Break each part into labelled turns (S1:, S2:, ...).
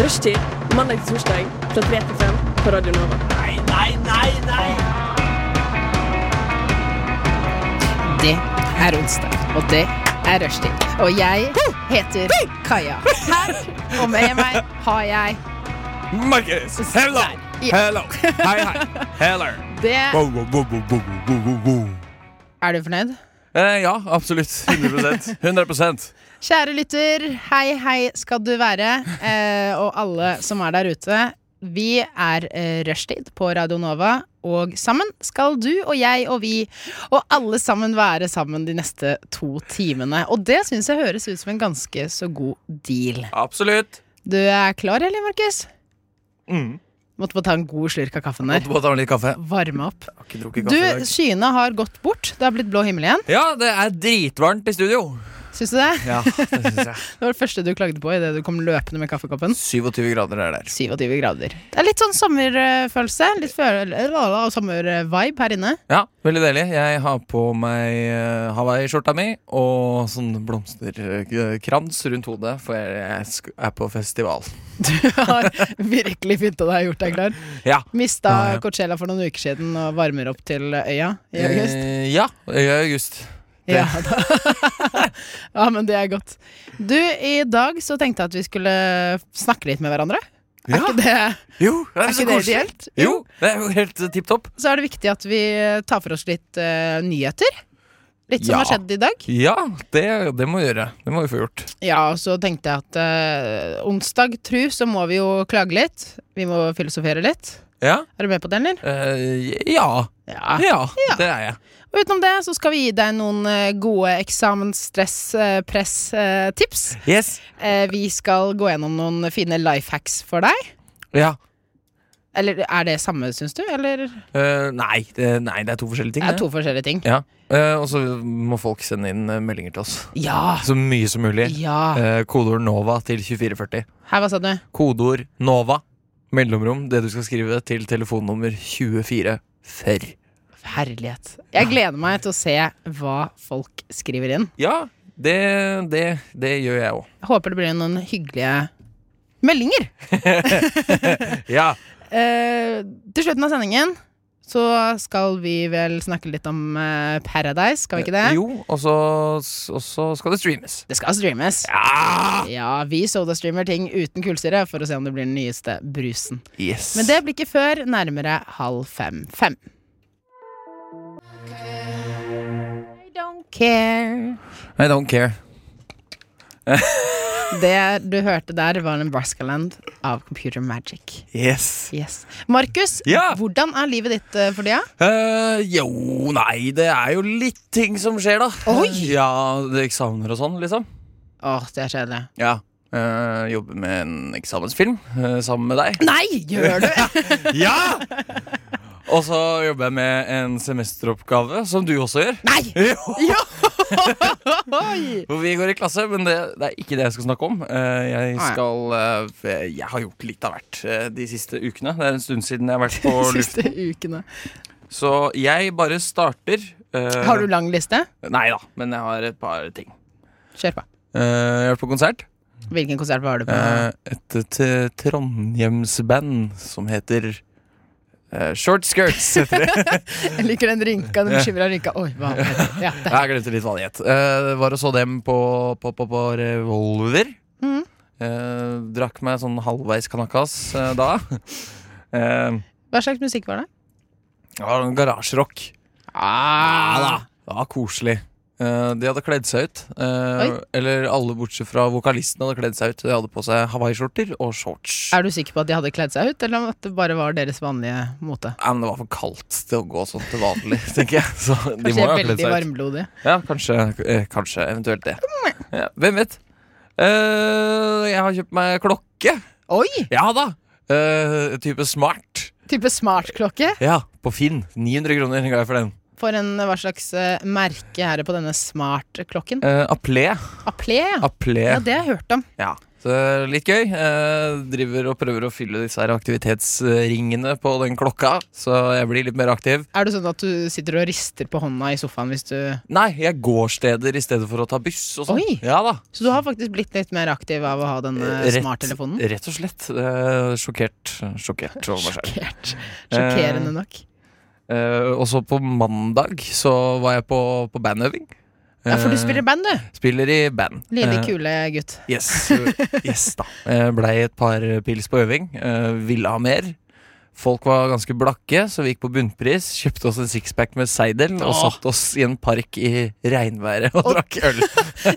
S1: Rushtid mandag til torsdag fra 3 til 5 på Radio Nova.
S2: Nei, nei, nei, nei!
S3: Det er onsdag, og det er rushtid. Og jeg heter Kaja. Her og med meg har jeg
S2: Markus! Hello!
S3: Ja.
S2: Hello! Hei, hei. Heller.
S3: det.
S2: Wow, wow, wow, wow, wow, wow, wow, wow.
S3: Er du fornøyd?
S2: Eh, ja, absolutt. 100 100
S3: Kjære lytter, hei, hei skal du være. Eh, og alle som er der ute. Vi er eh, rushtid på Radio Nova, og sammen skal du og jeg og vi og alle sammen være sammen de neste to timene. Og det syns jeg høres ut som en ganske så god deal.
S2: Absolutt.
S3: Du er klar, eller, Markus?
S2: Mm.
S3: Måtte bare ta en god slurk av kaffen der.
S2: Måtte bare ta en litt kaffe.
S3: Varme opp.
S2: Har ikke drukket
S3: Du,
S2: kaffe i dag.
S3: skyene har gått bort. Det har blitt blå himmel igjen.
S2: Ja, det er dritvarmt i studio.
S3: Syns du det?
S2: Ja, det syns jeg.
S3: Det var det første du klagde på idet du kom løpende med kaffekoppen.
S2: 27 grader er det der.
S3: 27 grader. Det er litt sånn sommerfølelse. Litt føl- eller sommervibe her inne.
S2: Ja, veldig deilig. Jeg har på meg eh, hawaiiskjorta mi og sånn blomsterkrans rundt hodet, for jeg, jeg sk- er på festival.
S3: Du har virkelig pynta deg og gjort deg klar.
S2: Ja.
S3: Mista
S2: Ja, ja.
S3: Coachella for noen uker siden og varmer opp til øya i august.
S2: Eh, ja, i august. det-
S3: Ja, da. ja, men det er godt. Du, i dag så tenkte jeg at vi skulle snakke litt med hverandre. Er
S2: Ja.
S3: ikke det, er
S2: Jo, det er, så
S3: ikke det
S2: koselig.
S3: ideelt?
S2: Jo, det er jo helt eh, tipp topp.
S3: så er det viktig at vi tar for oss litt eh, nyheter. Litt som
S2: Ja.
S3: har skjedd i dag.
S2: Ja, det, det må vi gjøre. Det må vi få gjort.
S3: Ja, og så tenkte jeg at eh, onsdag, tru, så må vi jo klage litt. Vi må filosofere litt.
S2: Ja.
S3: Er du med på den, eller?
S2: eh, ja.
S3: Ja.
S2: ja, det er jeg.
S3: Og utenom det så skal vi gi deg noen eh, gode eh, eksamensstress-press-tips.
S2: Yes.
S3: Eh, vi skal gå gjennom noen fine life hacks for deg.
S2: Ja.
S3: Eller er det samme, syns du? Eller
S2: Eh, nei, det, nei, det er to forskjellige ting.
S3: det er to forskjellige ting.
S2: Ja. Eh, og så må folk sende inn eh, meldinger til oss.
S3: Ja!
S2: Så mye som mulig.
S3: Ja.
S2: Eh, kodeord NOVA til 2440.
S3: Her, hva sa du?
S2: Kodeord NOVA, mellomrom, det du skal skrive, til telefonnummer 2440.
S3: Herlighet. Jeg gleder meg til å se hva folk skriver inn.
S2: Ja, det, det, det gjør jeg òg.
S3: Jeg håper det blir noen hyggelige meldinger.
S2: Ja.
S3: Eh, til slutten av sendingen så skal vi vel snakke litt om eh, Paradise, skal vi ikke det?
S2: Jo, og så, og så skal det streames.
S3: Eh, Det skal streames.
S2: Ja!
S3: Ja, vi sodastreamer ting uten kullsyre for å se om det blir den nyeste brusen.
S2: Yes.
S3: Men det blir ikke før nærmere halv fem. Fem. I don't care.
S2: I don't care.
S3: Det du hørte der, var Nebraskaland av Computer Magic.
S2: Yes.
S3: Yes. Markus,
S2: Ja!
S3: hvordan er livet ditt eh, for tida?
S2: Eh, jo, nei, det er jo litt ting som skjer, da. Eh,
S3: Oi!
S2: Ja, det er Eksamener og sånn, liksom.
S3: Åh, det er kjedelig.
S2: Ja. Eh, jobber med en eksamensfilm eh, sammen med deg.
S3: Nei, gjør du?
S2: Ja! Og så jobber jeg med en semesteroppgave, som du også gjør.
S3: Nei!
S2: Jo.
S3: Ja! Oi!
S2: Hvor vi går i klasse, men det, det er ikke det jeg skal snakke om. Eh, jeg,
S3: Nei.
S2: skal, eh, jeg har gjort litt av hvert eh, de siste ukene. Det er en stund siden jeg har vært på
S3: De
S2: luft.
S3: siste ukene.
S2: Så jeg bare starter. eh,
S3: Har du lang liste?
S2: Nei da, men jeg har et par ting.
S3: Kjør på.
S2: Eh, jeg har vært på konsert.
S3: Hvilken konsert var du på?
S2: Eh, et t- Trondhjemsband som heter eh, Short Skirts. Heter det.
S3: Jeg liker den rynka, den bekymra rynka. Oi, hva heter det? Ja, der.
S2: jeg glemte litt hva det het. Eh, var og så dem på, på, på, på Revolver.
S3: Mhm.
S2: Eh, drakk meg sånn halvveis kanakas eh, da. Eh,
S3: Hva slags musikk var det?
S2: det var en garasjerock. Ja Ah, da. Det var koselig. Eh, de hadde kledd seg ut. Eh,
S3: Oi.
S2: eller alle bortsett fra vokalisten hadde kledd seg ut. De hadde på seg hawaiiskjorter og shorts.
S3: Er du sikker på at de hadde kledd seg ut, eller at det bare var deres vanlige mote?
S2: Ja, men det var for kaldt til å gå sånn til vanlig, tenker jeg. Så de
S3: Kanskje
S2: må
S3: de
S2: jo ha
S3: er
S2: kledd
S3: veldig
S2: seg ut.
S3: varmblodige.
S2: Ja, kanskje, eh, kanskje eventuelt det. Ja, hvem vet? Eh, jeg har kjøpt meg klokke.
S3: Oi!
S2: Ja da! Eh, type smart.
S3: Type smartklokke.
S2: Ja, på Finn. 900 kroner ga jeg for den.
S3: For en hva slags eh, merke er det på denne smartklokken?
S2: Eh, Aplé.
S3: Aplé, ja.
S2: Aplé.
S3: Ja, det har jeg hørt om.
S2: Ja. Så det er litt gøy. Eh, driver og prøver å fylle disse her aktivitetsringene på den klokka, så jeg blir litt mer aktiv.
S3: Er det sånn at du sitter og rister på hånda i sofaen hvis du
S2: Nei, jeg går steder i stedet for å ta buss og sånn.
S3: Oi.
S2: Ja da.
S3: Så du har faktisk blitt litt mer aktiv av å ha denne
S2: Eh, Rett-
S3: smarttelefonen?
S2: Rett og slett. Eh, sjokkert. Sjokkert over meg selv.
S3: Sjokkert. Sjokkerende nok.
S2: Eh, og så på mandag så var jeg på, på bandøving.
S3: Ja, for du
S2: Eh,
S3: spiller band, du.
S2: spiller i band.
S3: Lille,
S2: Eh,
S3: kule gutt.
S2: Yes, yes da. Eh, Blei et par pils på øving. eh, Ville ha mer. Folk var ganske blakke, så vi gikk på bunnpris. Kjøpte oss en sixpack med seidel og
S3: Åh.
S2: satte oss i en park i regnværet og
S3: Og-
S2: drakk øl.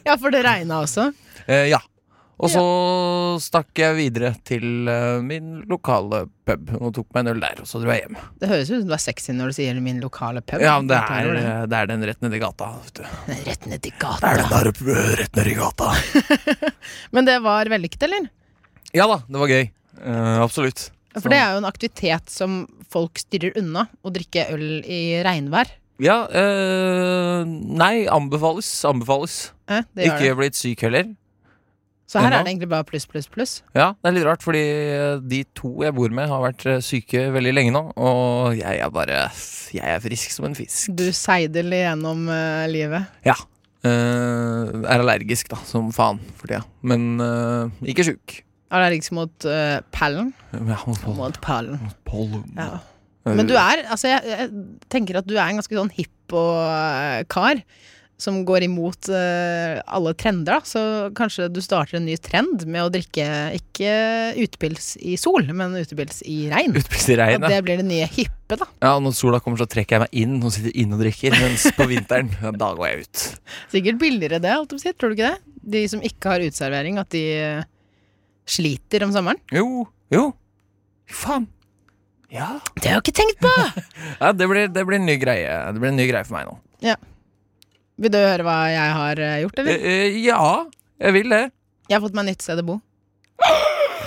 S3: Ja, for det regna også.
S2: Eh, ja. Og så stakk jeg videre til eh, min lokale pub og tok meg en øl der, og så dro jeg hjem.
S3: Det høres ut som du er sexy når du sier 'min lokale pub'.
S2: Ja, men det
S3: Jeg tar
S2: er, eh,
S3: over det.
S2: det er den rett nedi gata. Vet du.
S3: Den er Rett nedi
S2: Det er den
S3: gata.
S2: der eh, rett nedi gata.
S3: Men det var vellykket, eller?
S2: Ja da, det var gøy. Eh, absolutt.
S3: For det er jo en aktivitet som folk styrer unna. Å drikke øl i regnvær.
S2: Ja, eh, nei, anbefales. Anbefales.
S3: Eh, det gjør det.
S2: Ikke blitt syk heller.
S3: Så her
S2: ennå.
S3: er det egentlig bare pluss, pluss, pluss.
S2: Ja, det er litt rart, fordi eh, de to jeg bor med, har vært eh, syke veldig lenge nå. Og jeg er bare Jeg er frisk som en fisk.
S3: Du seiler gjennom eh, livet.
S2: Ja. Eh, er allergisk, da, som faen for tida. Men eh, ikke sjuk.
S3: Allergisk mot eh, pallen.
S2: Ja, mot pollen.
S3: Mot pallen.
S2: Pollen. Eh,
S3: Ja. Men du er altså jeg, jeg tenker at du er en ganske sånn hipp og eh, kar. Som går imot eh, alle trender, da. Så kanskje du starter en ny trend med å drikke ikke utepils i sol, men utepils i regn.
S2: Utpils i
S3: Og
S2: regnet.
S3: det blir det nye hippe, da.
S2: Ja, når sola kommer, så trekker jeg meg inn og sitter inne og drikker. Mens på vinteren, ja, da går jeg ut.
S3: Sikkert billigere det, holdt jeg på å si. Tror du ikke det? De som ikke har uteservering, at de eh, sliter om sommeren.
S2: Jo, jo. Faen. Ja.
S3: Det har jeg ikke tenkt på!
S2: ja det, blir, det blir en ny greie Det blir en ny greie for meg nå.
S3: Vil du høre hva jeg har eh, gjort, eller?
S2: Eh, eh, ja, jeg vil det.
S3: Jeg har fått meg nytt sted å bo.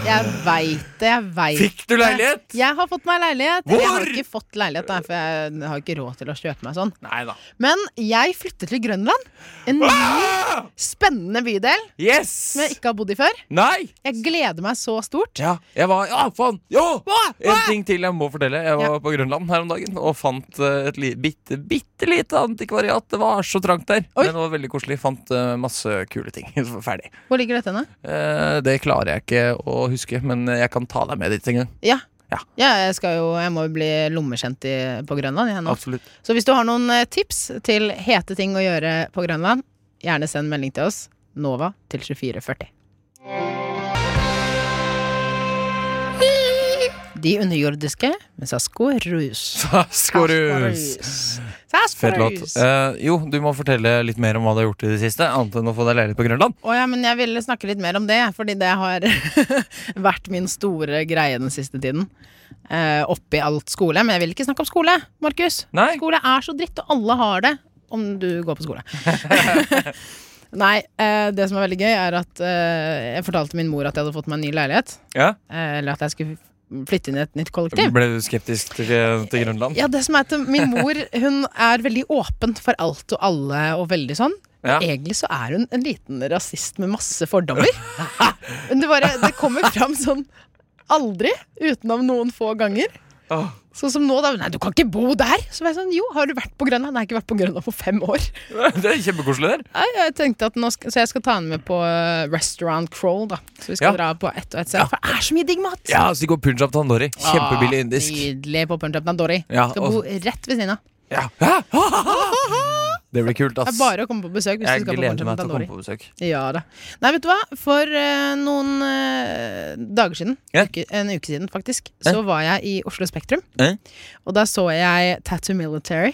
S3: Jeg veit det, jeg veit
S2: Fikk du leilighet?
S3: Jeg har fått meg leilighet. Jeg har
S2: Hvor?
S3: ikke fått leilighet, da, for jeg har ikke råd til å kjøpe meg sånn.
S2: Nei da.
S3: Men jeg flytter til Grønland. En ny,
S2: Ah!
S3: spennende bydel
S2: Yes!
S3: som jeg ikke har bodd i før.
S2: Nei!
S3: Jeg gleder meg så stort.
S2: Ja, jeg var Ja, faen! Jo!
S3: Hva?
S2: En ting til jeg må fortelle. Jeg var på Grønland her om dagen og fant eh, et li bitte, bitte lite antikvariat. Det var så trangt der,
S3: Oi.
S2: men det var veldig koselig. Fant eh, masse kule ting. Ferdig.
S3: Hvor ligger dette henne?
S2: Eh, det klarer jeg ikke å huske, men jeg kan ta deg med dit en gang.
S3: Ja.
S2: Ja.
S3: Ja, jeg, skal jo, jeg må jo bli lommekjent i, på Grønland. Jeg, nå.
S2: Absolutt.
S3: Så hvis du har noen eh, tips til hete ting å gjøre på Grønland, gjerne send melding til oss. Nova til 2440. De underjordiske med Sasko Rus.
S2: Skorus!
S3: Sasko
S2: Fet låt.
S3: Rus.
S2: Eh, jo, du må fortelle litt mer om hva du har gjort i det siste, annet enn å få deg leilighet på Grønland.
S3: Å ja, men jeg ville snakke litt mer om det, fordi det har vært min store greie den siste tiden. Eh, oppi alt skole. Men jeg vil ikke snakke om skole, Markus.
S2: Nei.
S3: Skole er så dritt, og alle har det. Om du går på skole. Nei, eh, det som er veldig gøy, er at eh, jeg fortalte min mor at jeg hadde fått meg en ny leilighet.
S2: Ja.
S3: Eh, eller at jeg skulle flytte inn i et nytt kollektiv.
S2: Ble du skeptisk til, til Grønland?
S3: Ja, det som er at Min mor hun er veldig åpen for alt og alle. og veldig sånn
S2: Ja.
S3: Egentlig så er hun en liten rasist med masse fordommer. Men det, bare, det kommer fram sånn aldri, utenom noen få ganger.
S2: Åh.
S3: Sånn som nå, da. Nei, du kan ikke bo der! Så var jeg sånn, jo, har du vært på Grønland? Nei, jeg har ikke vært på Grønland på fem år.
S2: Det er kjempekoselig der.
S3: Nei, jeg tenkte at nå skal, Så jeg skal ta henne med på eh, Restaurant Crawl, da. Så vi skal
S2: Ja.
S3: dra på ett og ett sted. For det er så mye digg mat!
S2: Ja, så de går punjab tandori. Kjempebillig indisk.
S3: Nydelig på Punjab Nandori.
S2: Ja,
S3: skal bo
S2: og-
S3: rett ved siden av.
S2: Ja. Hæ? Det blir kult,
S3: Det er
S2: ass.
S3: bare å komme på besøk hvis du
S2: Jeg
S3: skal på
S2: gleder
S3: Punjab
S2: meg til å
S3: Nandori.
S2: komme på besøk.
S3: Ja da. Nei, vet du hva? For eh, noen eh, dager siden,
S2: Ja.
S3: uke, en uke siden faktisk,
S2: Ja.
S3: så var jeg i Oslo Spektrum.
S2: Ja.
S3: Og da så jeg Tattoo Military.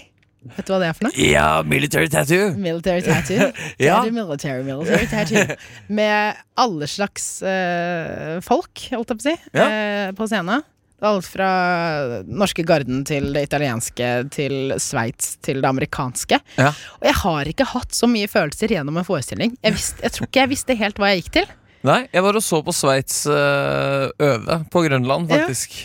S3: Vet du hva det er for noe?
S2: Ja, military tattoo!
S3: Military tattoo.
S2: Ja.
S3: Tattoo Military, military tattoo. Med alle slags eh, folk, holdt jeg på å si,
S2: Ja.
S3: eh, på scenen. Alt fra norske garden til det italienske, til Sveits, til det amerikanske.
S2: Ja.
S3: Og jeg har ikke hatt så mye følelser gjennom en forestilling. Jeg, visste, jeg tror ikke jeg visste helt hva jeg gikk til.
S2: Nei, jeg var og så på Sveits øh, øve på Grønland, faktisk.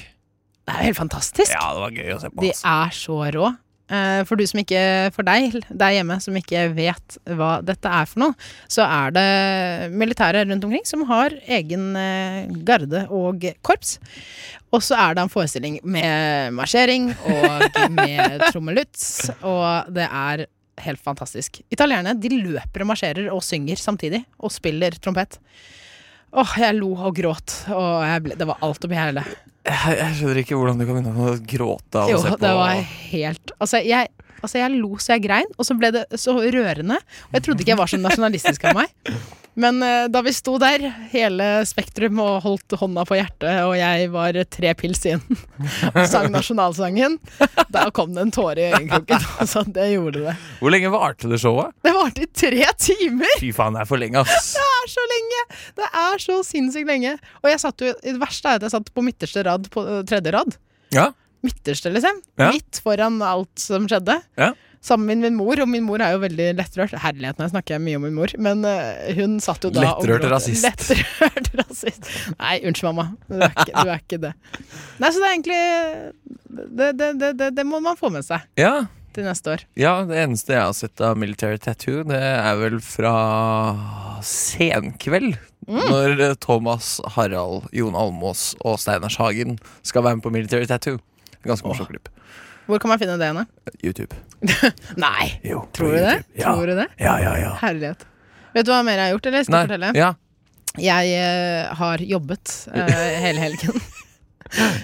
S3: Det er jo helt fantastisk.
S2: Ja, det var gøy å se på. altså.
S3: De
S2: ass.
S3: er så rå. Eh, For, du som ikke, for deg der hjemme som ikke vet hva dette er for noe, så er det militære rundt omkring som har egen eh, garde og korps. Og så er det en forestilling med marsjering og med trommeluts, og det er helt fantastisk. Italienerne de løper og marsjerer og synger samtidig, og spiller trompet. Åh, jeg lo og gråt, og jeg ble, det var alt oppi hele.
S2: Jeg, jeg skjønner ikke hvordan du kan begynne å gråte av å
S3: Jo,
S2: se på
S3: det var helt altså jeg, altså, jeg lo så jeg grein, og så ble det så rørende. Og jeg trodde ikke jeg var så nasjonalistisk av meg. Men eh, da vi sto der, hele Spektrum, og holdt hånda på hjertet, og jeg var tre pils inn og sang nasjonalsangen, da kom det en tåre i øyekroken. Altså, det gjorde det.
S2: Hvor lenge varte det showet?
S3: Det varte i tre timer!
S2: Fy faen, det er for lenge, ass.
S3: Det er så lenge! Det er så sinnssykt lenge. Og jeg satt jo, det verste er at jeg satt på midterste rad på eh, tredje rad.
S2: Ja.
S3: midterste, liksom.
S2: Ja.
S3: Midt foran alt som skjedde.
S2: Ja.
S3: Sammen med min mor, og min mor er jo veldig lettrørt. Herlighet, nå snakker jeg mye om min mor, men eh, hun satt jo da og
S2: Lettrørt
S3: gråt.
S2: rasist.
S3: Lettrørt rasist. Nei, unnskyld, mamma. Du er ikke, du er ikke det. Nei, så det er egentlig det, det, det, det, det må man få med seg
S2: ja.
S3: til neste år.
S2: Ja, det eneste jeg har sett av Military Tattoo, det er vel fra senkveld. Når eh, Thomas, Harald, Jon Almås og Steinars Hagen skal være med på Military Tattoo. Ganske morsomt klipp.
S3: Hvor kan man finne det henne?
S2: YouTube.
S3: Nei!
S2: Jo, på
S3: Tror du det?
S2: YouTube. Ja.
S3: Tror du det?
S2: ja, ja, ja.
S3: Herlighet. Vet du hva mer jeg har gjort, eller? Skal jeg fortelle?
S2: ja.
S3: Jeg eh, har jobbet eh, hele helgen.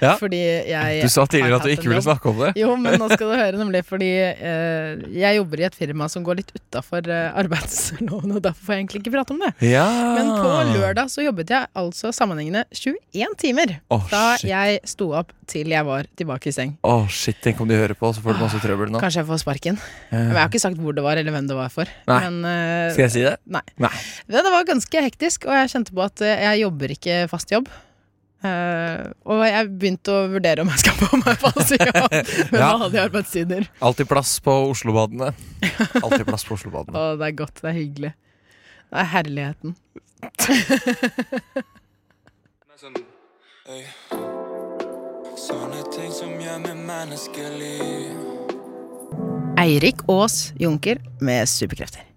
S2: Ja.
S3: Fordi jeg
S2: Du sa
S3: har
S2: tidligere at du
S3: hatt
S2: ikke
S3: en
S2: ville
S3: jobb.
S2: snakke om det.
S3: Jo, men nå skal du høre, nemlig fordi eh, jeg jobber i et firma som går litt utafor eh, arbeidsloven, og derfor får jeg egentlig ikke prate om det.
S2: Ja.
S3: Men på
S2: Ah.
S3: lørdag så jobbet jeg altså sammenhengende 21 timer.
S2: Åh,
S3: Da
S2: shit.
S3: jeg sto opp til jeg var tilbake i seng.
S2: Åh, shit, tenk om de hører på, så får du masse trøbbel nå.
S3: Kanskje jeg får sparken. Men jeg
S2: Eh,
S3: har ikke sagt hvor det var, eller hvem det var for.
S2: Nei.
S3: Men eh,
S2: Skal jeg si det?
S3: Nei.
S2: Nei.
S3: det, det var ganske hektisk, og jeg kjente på at eh, jeg jobber ikke fast jobb. Eh, og jeg begynte å vurdere om jeg skal få meg fast jobb med
S2: Ja.
S3: vanlige arbeidstider.
S2: Alltid plass på Oslobadene. Alltid plass på Oslobadene.
S3: Å, det er godt. Det er hyggelig. Det er herligheten.
S4: Sånn, øy. Sånne ting som gjør meg menneskelig.
S3: Eirik Aas Junker med superkrefter.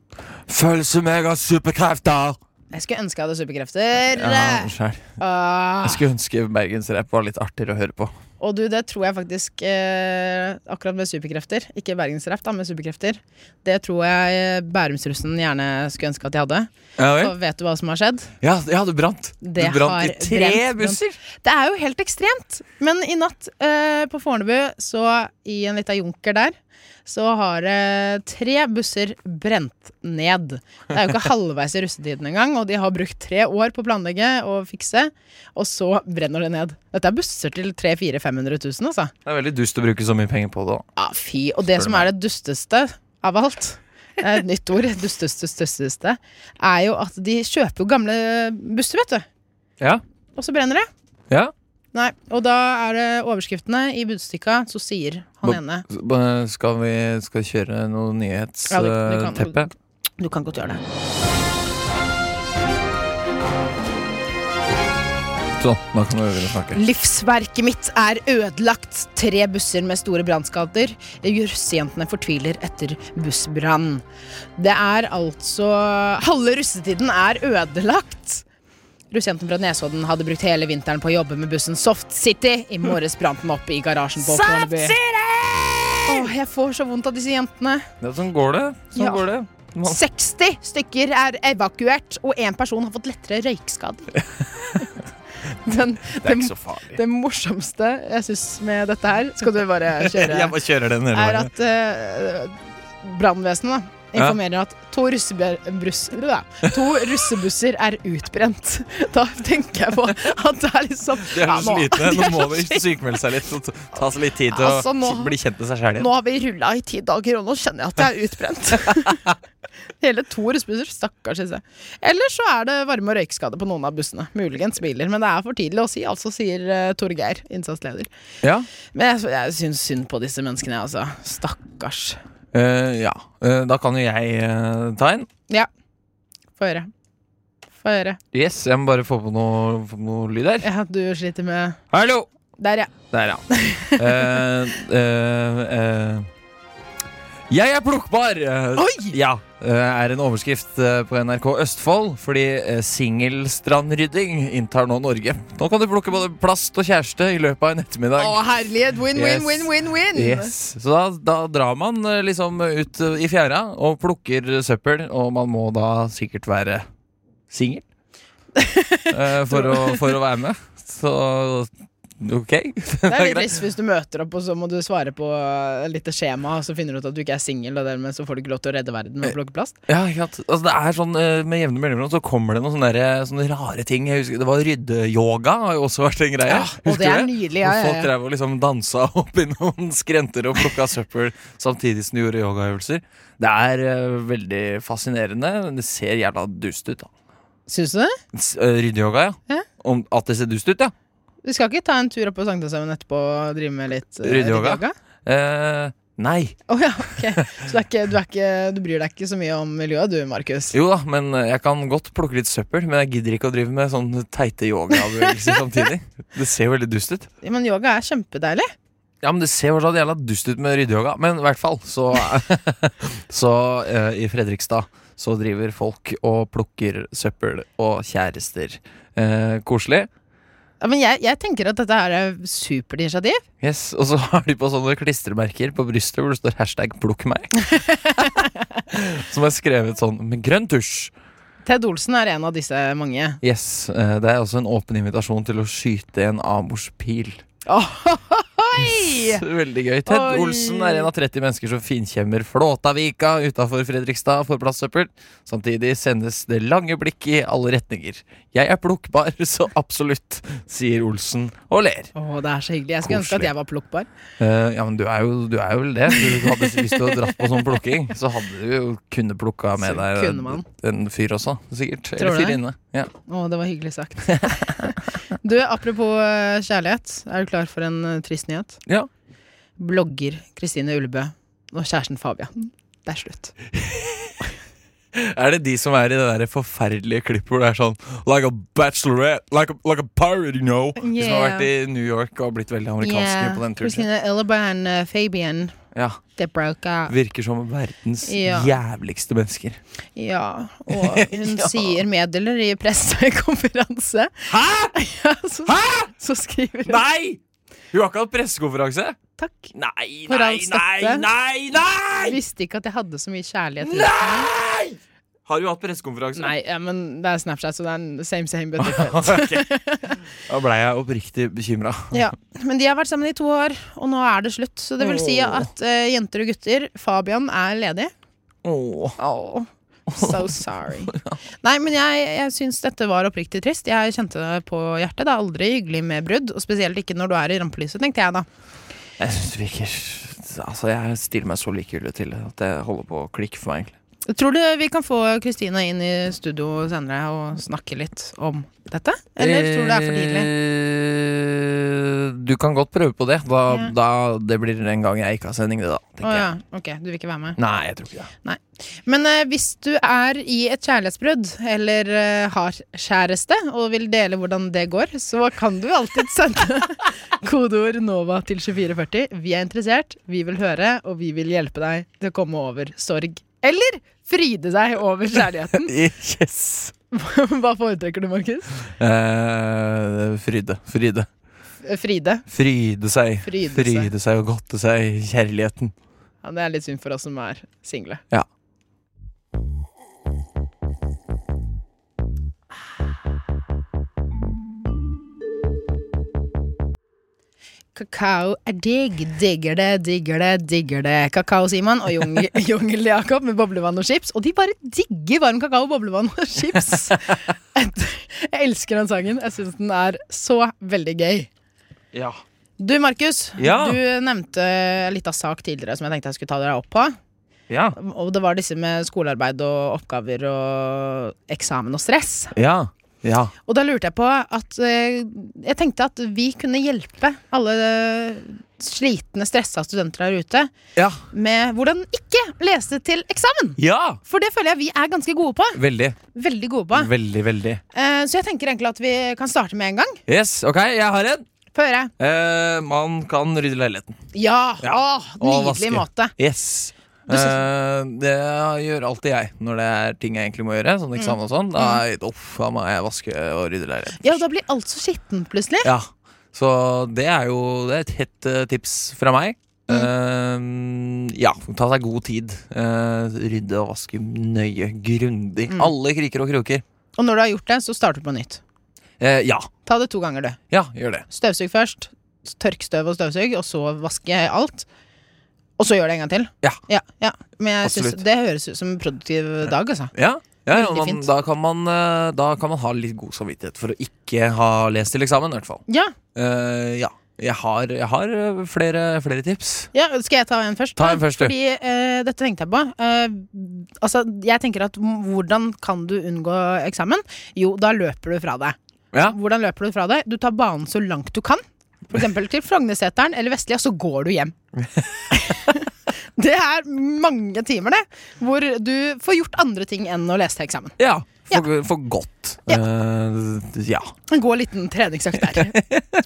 S2: Følelse meg av superkrefter!
S3: Jeg skulle ønske jeg hadde superkrefter.
S2: Ja, skjær.
S3: Ah.
S2: jeg skulle ønske bergensrap var litt artigere å høre på.
S3: Og du, det tror jeg faktisk eh, Akkurat med superkrefter, ikke bergensrapp, da, med superkrefter. Det tror jeg eh, Bærumsrussen gjerne skulle ønske at jeg hadde.
S2: Ja,
S3: Så vet du hva som har skjedd?
S2: ja, du brant. Du
S3: Det
S2: brant i
S3: har
S2: tre
S3: brent, brent.
S2: busser!
S3: Det er jo helt ekstremt. Men i natt eh, på Fornebu, så i en lita junker der, så har eh, tre busser brent ned. Det er jo ikke halvveis i russetiden engang, og de har brukt tre år på å planlegge og fikse, og så brenner det ned. Dette er busser til 300 400 500 000, altså.
S2: Det er veldig dust å bruke så mye penger på det. da.
S3: Ja, fy. Og det
S2: Spør
S3: som
S2: meg.
S3: er det dusteste av alt, det er et nytt ord, dusteste, dusteste, er jo at de kjøper jo gamle busser, vet du.
S2: Ja.
S3: Og så brenner det.
S2: Ja.
S3: Nei, og da er det overskriftene i budstikka, så sier han
S2: Hva-
S3: ene
S2: Så, eh, Skal vi skal vi kjøre noe eh,
S3: Ja, du- du kan-
S2: nyhetsteppe?
S3: Du kan godt gjøre det.
S2: Sånn, nå kan vi begynne å snakke.
S3: Livsverket mitt er ødelagt. Tre busser med store brannskader. Russejentene fortviler etter bussbrann. Det er altså Halve russetiden er ødelagt. Russejenten fra Nesodden hadde brukt hele vinteren på å jobbe med bussen Soft City. I morges brant den opp i garasjen på Fornebu. Åh, jeg får så vondt av disse jentene.
S2: Ja, sånn går det. Sånn
S3: Ja. Sånn
S2: går det. Man-
S3: 60 stykker er evakuert, og én person har fått lettere røykskader. Den,
S2: Det er
S3: det,
S2: ikke så farlig.
S3: det morsomste jeg syns med dette her, skal du bare
S2: Jeg
S3: kjøre,
S2: bare kjører den hele
S3: er
S2: veien.
S3: at uh, brannvesenet da, informerer at to, russebr- bruss- da, to russebusser er utbrent. Da tenker jeg på at det er liksom
S2: De er
S3: ja,
S2: så slitne.
S3: de
S2: Nå
S3: er
S2: må
S3: så
S2: de
S3: slitne.
S2: sykmelde seg litt. Så t- ta seg litt tid til
S3: Altså,
S2: å
S3: nå-
S2: bli kjent med seg sjæl igjen.
S3: Nå har vi rulla i ti dager, og nå kjenner jeg at jeg er utbrent. Hele to russebusser. Stakkars Else. Eller så er det varme- og røykskade på noen av bussene. Muligens biler, men det er for tidlig å si, altså, sier eh, Torgeir, innsatsleder.
S2: Ja.
S3: Men jeg, jeg syns synd på disse menneskene, altså. Stakkars.
S2: Eh, ja. Eh, da kan jo jeg eh, ta en.
S3: Få høre. Få høre.
S2: Yes, jeg må bare få på noe, få på noe lyd her.
S3: Ja, du sliter med
S2: Hallo!
S3: Der, ja.
S2: Der, ja. Eh, eh, eh. Jeg er plukkbar! eh,
S3: Oi!
S2: Ja, eh, er en overskrift eh, på NRK Østfold. Fordi eh, singelstrandrydding inntar nå Norge. Nå kan du plukke både plast og kjæreste i løpet av en ettermiddag.
S3: Å, herlighet! Win, win,
S2: Yes.
S3: win, win, win!
S2: Yes. Så da, da drar man eh, liksom ut eh, i fjæra og plukker søppel, og man må da sikkert være singel eh, for, å- for å være med. Så ok.
S3: Det er litt trist hvis du møter opp, og så må du svare på eh, litt skjema, og så finner du ut at du ikke er singel, og dermed så får du ikke lov til å redde verden med å plukke plast.
S2: Ja, ikke sant? Altså, det er sånn, eh, Med jevne mellomrom så kommer det noen sånne, der, eh, sånne rare ting. Jeg husker, Det var Ryddeyoga har jo også vært en greie.
S3: Ah, Og
S2: Husker
S3: det er
S2: du
S3: nydelig. Ja,
S2: Hvor
S3: ja,
S2: Folk
S3: ja.
S2: drev og liksom dansa opp i noen skrenter og plukka søppel samtidig som de gjorde yogaøvelser. Det er eh, veldig fascinerende. men Det ser jævla dust ut, da.
S3: Syns du det?
S2: S- eh, Ryddeyoga, ja.
S3: Ja.
S2: Om at det ser dust ut, ja.
S3: Vi skal ikke ta en tur opp på Sankthanshaugen etterpå og drive med litt eh,
S2: Ryddeyoga?
S3: ryddeyoga?
S2: Eh, nei.
S3: Å ja, ok. Så det er ikke, du, er ikke, du bryr deg ikke så mye om miljøet du, Markus?
S2: Jo da, men jeg kan godt plukke litt søppel. Men jeg gidder ikke å drive med sånne teite yogabevegelser samtidig. Det ser jo veldig dust ut.
S3: Ja, Men yoga er kjempedeilig.
S2: Ja, men Det ser fortsatt jævla dust ut med ryddeyoga, men i hvert fall så Så eh, i Fredrikstad så driver folk og plukker søppel og kjærester. Eh, koselig.
S3: Ja, men jeg, jeg tenker at dette her er supert initiativ.
S2: Yes, Og så har de på sånne klistremerker på brystet hvor det står hashtag 'plukk meg'. Som er skrevet sånn med grønn tusj.
S3: Ted Olsen er en av disse mange.
S2: Yes, eh, Det er også en åpen invitasjon til å skyte en amorspil.
S3: Ohohoi!
S2: Veldig gøy. Ted
S3: Oi.
S2: Olsen er en av 30 mennesker som finkjemmer Flåtavika utafor Fredrikstad for plastsøppel. Samtidig sendes det lange blikk i alle retninger. Jeg er plukkbar, så absolutt, sier Olsen og ler.
S3: Å, det er så hyggelig. Jeg skulle ønske
S2: Koselig.
S3: at jeg var plukkbar.
S2: Eh, ja, men du er, jo, du er jo vel det. Du hadde lyst til å dra på sånn plukking, så hadde du jo kunne plukka med
S3: Så
S2: deg
S3: kunne man.
S2: en fyr også, sikkert.
S3: Tror du
S2: Eller
S3: det?
S2: fyrinne. Ja.
S3: Å, det var hyggelig sagt. Du, apropos eh, kjærlighet. Er du klar for en eh, trist nyhet?
S2: Ja.
S3: Blogger Kristine Ullebø og kjæresten Fabian. Det er slutt.
S2: Er det de som er i det der forferdelige klippet hvor det er sånn Like a bachelorette, like a, like a pirate, you know De som har
S3: Yeah.
S2: vært i New York og blitt veldig amerikanske på den turen sin
S3: Kristine Ullebø og eh, Fabian.
S2: ja,
S3: They broke up.
S2: Virker som verdens
S3: Ja.
S2: jævligste mennesker
S3: Ja, og hun sier meddeler i pressekonferanse.
S2: Hæ?
S3: Ja, så,
S2: Hæ?
S3: så skriver hun
S2: Nei! Hun har ikke hatt pressekonferanse
S3: takk.
S2: Nei,
S3: For
S2: nei,
S3: all
S2: nei,
S3: støtte.
S2: nei,
S3: Jeg
S2: nei
S3: visste ikke at jeg hadde så mye kjærlighet. rundt meg.
S2: Nei! Har hun hatt pressekonferanse?
S3: Nei, ja, men det er Snapchat, så det er en same same but different.
S2: Ok. Da ble jeg oppriktig bekymret
S3: Ja, men de har vært sammen i to år, og nå er det slutt. Så det vil si
S2: Åh.
S3: at eh, jenter og gutter, Fabian er ledig.
S2: Åh
S3: So sorry. Nei, men jeg, jeg syns dette var oppriktig trist. Jeg kjente det på hjertet. Det er aldri hyggelig med brudd, og spesielt ikke når du er i rampelyset, tenkte jeg da.
S2: Jeg synes det virker Altså, jeg stiller meg så likegyldig til det at det holder på å klikke for meg, egentlig.
S3: Tror du vi kan få Kristina inn i studio senere og snakke litt om dette? Eller tror du det er for tidlig?
S2: Eh, Du kan godt prøve på det. Da,
S3: Ja.
S2: da, det blir en gang jeg ikke har sending, det, da.
S3: Å
S2: tenker
S3: ja,
S2: jeg.
S3: ok, du vil ikke være med.
S2: Nei, jeg tror ikke det.
S3: Men eh, hvis du er i et kjærlighetsbrudd, eller eh, har kjæreste, og vil dele hvordan det går, så kan du alltid sende kodeord NOVA til 2440. Vi er interessert, vi vil høre, og vi vil hjelpe deg til å komme over sorg. Eller fryde deg over kjærligheten.
S2: Yes!
S3: Hva foretrekker du, Markus?
S2: Eh, fryde. Fryde.
S3: Fride.
S2: Fryde seg.
S3: Fryde seg.
S2: Fryde seg og godte seg i kjærligheten.
S3: Ja, det er litt synd for oss som er single.
S2: Ja.
S3: Kakao er digg. Digger det, digger det, digger det. Kakao, Simon og Jung- Jungel-Jakob med boblevann og chips. Og de bare digger varm kakao, boblevann og chips. Et- Jeg elsker den sangen. Jeg syns den er så veldig gøy.
S2: Ja.
S3: Du, Markus.
S2: Ja.
S3: Du nevnte litt av sak tidligere som jeg tenkte jeg skulle ta dere opp på.
S2: Ja.
S3: Og det var disse med skolearbeid og oppgaver og eksamen og stress.
S2: Ja. ja.
S3: Og da lurte jeg på at eh, Jeg tenkte at vi kunne hjelpe alle eh, slitne, stressa studenter der ute
S2: ja.
S3: med hvordan ikke lese til eksamen. For det føler jeg vi er ganske gode på.
S2: Veldig.
S3: Veldig gode på.
S2: Veldig, veldig.
S3: Eh, så jeg tenker egentlig at vi kan starte med en gang.
S2: Yes, OK, jeg har en.
S3: Få høre.
S2: Eh, man kan rydde leiligheten.
S3: Ja!
S2: Ja.
S3: Åh,
S2: Og
S3: nydelig
S2: vaske.
S3: måte.
S2: Yes. Eh, det gjør alltid jeg når det er ting jeg egentlig må gjøre. Sånn eksamen og sånn. Da,
S3: Mm.
S2: er jeg- uff, da må jeg vaske og rydde leiligheten.
S3: Ja, da blir alt så skitten plutselig.
S2: Ja, så det er jo det er et hett eh, tips fra meg.
S3: Mm.
S2: Eh, ja, ta seg god tid. Eh, rydde og vaske nøye, grundig.
S3: Mm.
S2: Alle kriker og kroker.
S3: Og når du har gjort det, så starter du på nytt.
S2: Eh, ja.
S3: Ta det to ganger, du.
S2: ja, gjør det.
S3: Støvsug først. Tørk støv og støvsug, og så vaske alt. Og så gjør det en gang til.
S2: Ja.
S3: ja, ja. Men jeg synes
S2: Absolutt.
S3: det høres ut som en produktiv dag, altså.
S2: Ja, ja, ja
S3: Veldig
S2: man,
S3: fint.
S2: da, kan man, eh, da kan man ha litt god samvittighet for å ikke ha lest til eksamen, i hvert fall.
S3: Ja,
S2: Eh, ja. Jeg har, jeg har eh, flere, flere tips.
S3: ja, skal jeg ta en først?
S2: Ta en først, du.
S3: Fordi eh, dette tenkte jeg på. Eh, altså, jeg tenker at m- hvordan kan du unngå eksamen? Jo, da løper du fra det.
S2: Ja.
S3: Hvordan løper du fra det? Du tar banen så langt du kan. For eksempel til Frognerseteren eller Vestlia, så går du hjem. det er mange timer, det. Hvor du får gjort andre ting enn å lese til eksamen.
S2: Ja, for, for godt.
S3: Ja.
S2: Eh, ja.
S3: En god liten treningsøkt der.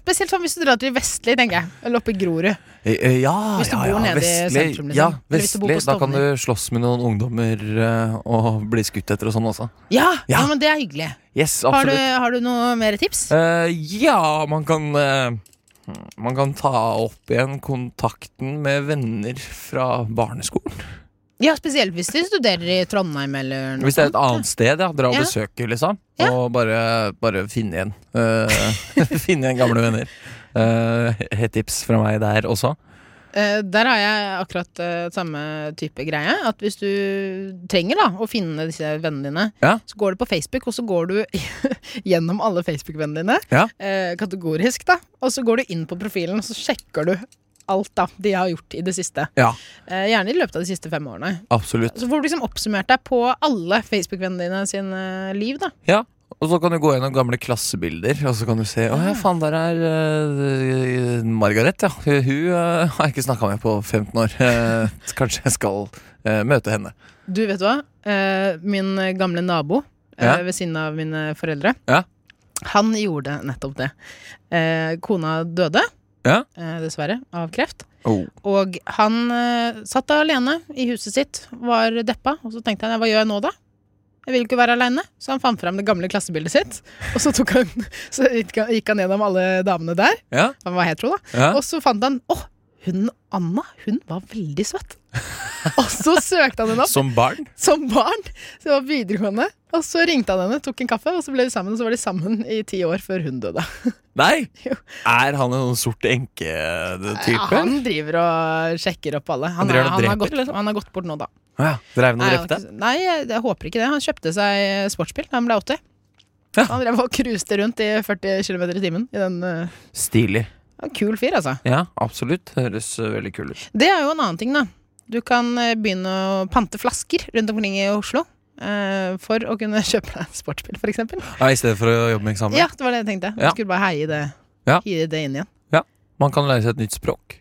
S3: Spesielt sånn hvis du drar til Vestli, tenker jeg. Eller oppe i Grorud.
S2: Eh, eh, ja.
S3: Hvis du
S2: ja, ja,
S3: bor nede i
S2: Vestli.
S3: sentrum, liksom.
S2: Ja,
S3: Eller hvis du bor
S2: Vestli.
S3: på
S2: Da kan du
S3: Stovner.
S2: slåss med noen ungdommer eh, og bli skutt etter og sånn også.
S3: Ja, ja.
S2: Ja.
S3: men det er hyggelig.
S2: Yes,
S3: Har du,
S2: absolutt.
S3: har du noe mer tips?
S2: Eh, ja, man kan eh, Man kan ta opp igjen kontakten med venner fra barneskolen.
S3: Ja, spesielt hvis du studerer i Trondheim eller noe
S2: Hvis det er et
S3: sånt, ja.
S2: annet sted, ja. Dra og
S3: Ja.
S2: besøke, liksom.
S3: Ja.
S2: Og bare, bare finne igjen. eh, finne igjen gamle venner. Uh, Hett tips fra meg der også.
S3: Eh, der har jeg akkurat eh, samme type greie. At hvis du trenger da å finne disse vennene dine,
S2: Ja.
S3: så går du på Facebook, og så går du gjennom alle Facebook-vennene dine.
S2: Ja.
S3: eh, kategorisk, da. Og så går du inn på profilen, og så sjekker du alt da de har gjort i det siste.
S2: Ja,
S3: Eh, gjerne i løpet av de siste fem årene.
S2: absolutt.
S3: Så får du liksom oppsummert deg på alle Facebook-vennene dine sin eh, liv, da.
S2: Ja, og så kan du gå gjennom gamle klassebilder, og så kan du se Å ja, faen, der er eh, Margaret, ja. Hun eh, har jeg ikke snakka med på 15 år. Eh, kanskje jeg skal eh, møte henne.
S3: Du, vet du hva? Eh, min gamle nabo eh,
S2: Ja.
S3: ved siden av mine foreldre,
S2: Ja.
S3: han gjorde nettopp det. Eh, kona døde,
S2: Ja.
S3: eh, dessverre, av kreft. Og han eh, satt da alene i huset sitt, var deppa, og så tenkte han hva gjør jeg nå, da? Jeg vil ikke være aleine, så han fant fram det gamle klassebildet sitt. Og så, tok han, så gikk han- gikk han gjennom alle damene der.
S2: Ja,
S3: Han var hetero, da.
S2: ja.
S3: Og så fant han Å, hun Anna, hun var veldig søt. og så søkte han henne opp
S2: Som barn?
S3: som barn. Så det var videregående. Og så ringte han henne, tok en kaffe, og så ble de sammen. Og så var de sammen i ti år før hun døde.
S2: Nei!
S3: Jo.
S2: Er han en sånn sort enke-type?
S3: han driver og sjekker opp alle.
S2: Han
S3: Han,
S2: driver
S3: er,
S2: og
S3: han, har,
S2: dreper,
S3: gått, han har gått bort nå, da.
S2: Å ja. Dreiv han og
S3: Nei, han
S2: drepte?
S3: har ikke- nei, jeg, jeg håper ikke det. Han kjøpte seg sportsbil da han ble 80.
S2: Ja.
S3: Han drev og cruiste rundt i 40 km i timen. I den, eh,
S2: Stilig.
S3: en kul fyr, altså.
S2: Ja, absolutt. Høres eh, veldig kul ut.
S3: Det er jo en annen ting, da. Du kan eh, begynne å pante flasker rundt omkring i Oslo. eh, for å kunne kjøpe deg en sportsbil, for eksempel.
S2: Ja, I stedet for å jobbe med eksamen?
S3: Ja, det var det jeg tenkte.
S2: Ja.
S3: Jeg skulle bare heie det,
S2: Ja.
S3: hive det inn igjen.
S2: Man kan lære seg et nytt språk.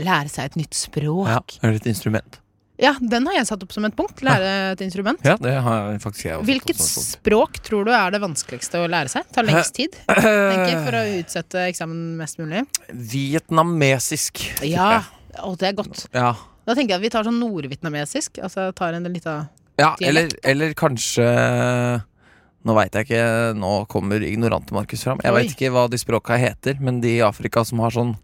S3: Lære seg et nytt
S2: Ja,
S3: språk.
S2: Eller et instrument.
S3: Ja. den har jeg satt opp som et punkt. Lære et instrument.
S2: Ja, det har jeg faktisk jeg også.
S3: Hvilket
S2: sånn-
S3: språk tror du er det vanskeligste å lære seg? Tar lengst tid? Tenker jeg, For å
S2: Eh.
S3: utsette eksamen mest mulig.
S2: Vietnamesisk. tipper
S3: Ja,
S2: jeg.
S3: å, det er godt.
S2: ja.
S3: Da tenker jeg at vi tar sånn nordvietnamesisk. Altså tar en lita
S2: Ja, eller,
S3: Dialekt,
S2: eller kanskje Nå veit jeg ikke, nå kommer ignorante Markus fram. Jeg
S3: Oi.
S2: veit ikke hva de språka heter, men de i Afrika som har sånn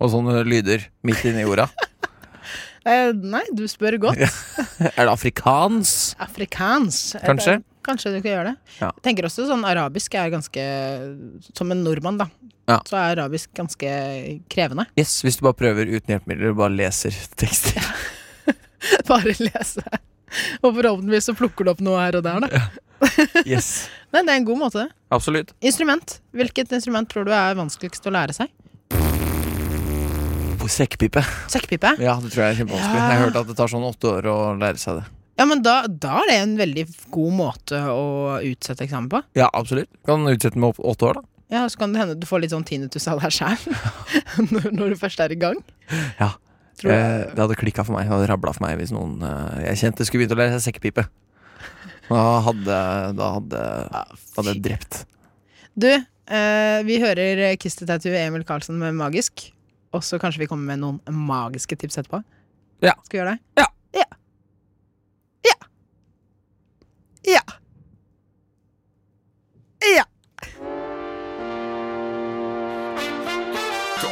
S2: og sånne lyder midt inni jorda.
S3: eh, Nei, du spør godt.
S2: Er det afrikans?
S3: Afrikansk. Eh,
S2: Kanskje.
S3: Kanskje du kan gjøre det.
S2: Ja.
S3: Jeg tenker også sånn arabisk er ganske Som en nordmann, da.
S2: Ja.
S3: Så er arabisk ganske krevende.
S2: Yes, hvis du bare prøver uten hjelpemidler og bare leser tekster.
S3: Bare lese. Og forhåpentligvis så plukker du opp noe her og der, da.
S2: Yes,
S3: Nei, det er en god måte.
S2: Absolutt.
S3: Instrument. Hvilket instrument tror du er vanskeligst å lære seg?
S2: På Sekkepipe.
S3: Sekkepipe?
S2: Ja, det tror jeg er kjempevanskelig.
S3: Ja.
S2: Jeg hørte at det tar sånn åtte år å lære seg det.
S3: Ja, men da, da er det en veldig god måte å utsette eksamen på.
S2: Ja, absolutt. Kan utsette med opp- åtte år, da.
S3: Ja, Så kan det hende du får litt sånn tinnitus av deg sjæl når, når du først er i gang.
S2: Ja.
S3: Tror
S2: Eh,
S3: jeg.
S2: det hadde klikka for meg det hadde rabla for meg hvis noen eh, jeg kjente skulle begynt å lære seg sekkepipe. Da hadde, da hadde, da hadde jeg drept.
S3: Du, eh, vi hører Kiss the Tattoo Emil Karlsen med Magisk. Og så kanskje vi kommer med noen magiske tips etterpå.
S2: Ja.
S3: Skal vi gjøre det?
S2: Ja.
S3: Ja. Ja. Ja. Ja.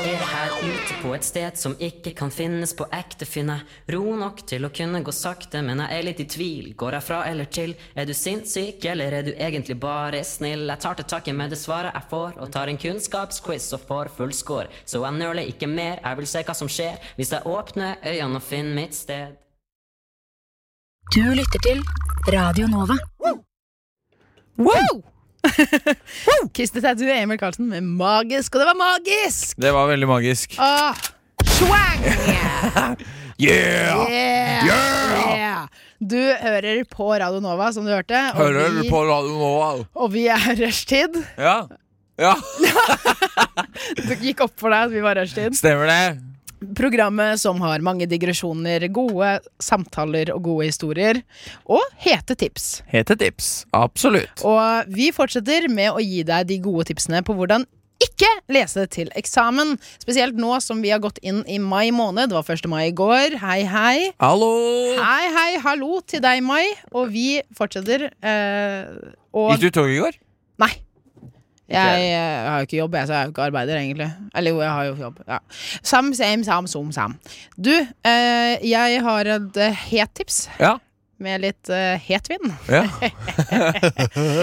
S5: Dere her ute på et sted som ikke kan finnes på ekte finne Ro nok til å kunne gå sakte, men jeg er litt i tvil Går jeg fra eller til? Er du sinnssyk, eller er du egentlig bare snill? Jeg tar til takke med det svaret jeg får Og tar en kunnskapsquiz og får full score Så jeg nøler ikke mer, jeg vil se hva som skjer Hvis jeg åpner øynene og finner mitt sted
S6: Du lytter til Radio Nova.
S3: Wow! Kiss the tattoo, Emil Karlsen med magisk, og det var magisk!
S2: Det var veldig magisk.
S3: Åh, swang!
S2: Yeah!
S3: Yeah!
S2: Yeah!
S3: Yeah! Du hører på Radio Nova, som du hørte. Og
S2: Hører du
S3: vi,
S2: på radio nå? au?
S3: Og vi er rushtid.
S2: Ja. Ja,
S3: Det gikk opp for deg at vi var rushtid.
S2: stemmer det.
S3: Programmet som har mange digresjoner, gode samtaler og gode historier. Og hete tips.
S2: Hete tips. Absolutt.
S3: Og vi fortsetter med å gi deg de gode tipsene på hvordan ikke lese til eksamen. Spesielt nå som vi har gått inn i mai måned. Det var 1. mai i går. Hei, hei.
S2: Hallo!
S3: Hei, hei, hallo til deg, Mai. Og vi fortsetter. Eh, og
S2: Gikk du tog i går?
S3: Nei. Jeg, eh, har jo ikke jobb, jeg, så jeg er jo ikke arbeider, egentlig. Eller jo, jeg har jo jobb. Ja. Sam, same, sam, som, sam. Du, eh, jeg har et eh, het tips
S2: Ja.
S3: med litt eh, het vind.
S2: ja.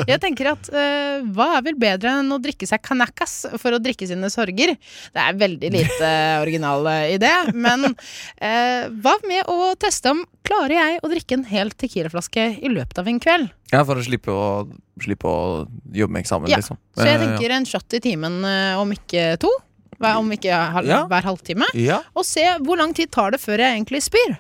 S3: Jeg tenker at eh, hva er vel bedre enn å drikke seg kanakas for å drikke sine sorger? Det er veldig lite original eh, idé, men eh, hva med å teste om klarer jeg å drikke en hel tequilaflaske i løpet av en kveld?
S2: Ja, for å slippe å, slippe å jobbe med eksamen,
S3: Ja,
S2: liksom.
S3: Så jeg
S2: Eh, ja.
S3: tenker en shot i timen eh, om ikke to, hva- om ikke hal
S2: Ja.
S3: hver halvtime,
S2: Ja.
S3: og se hvor lang tid tar det før jeg egentlig spyr.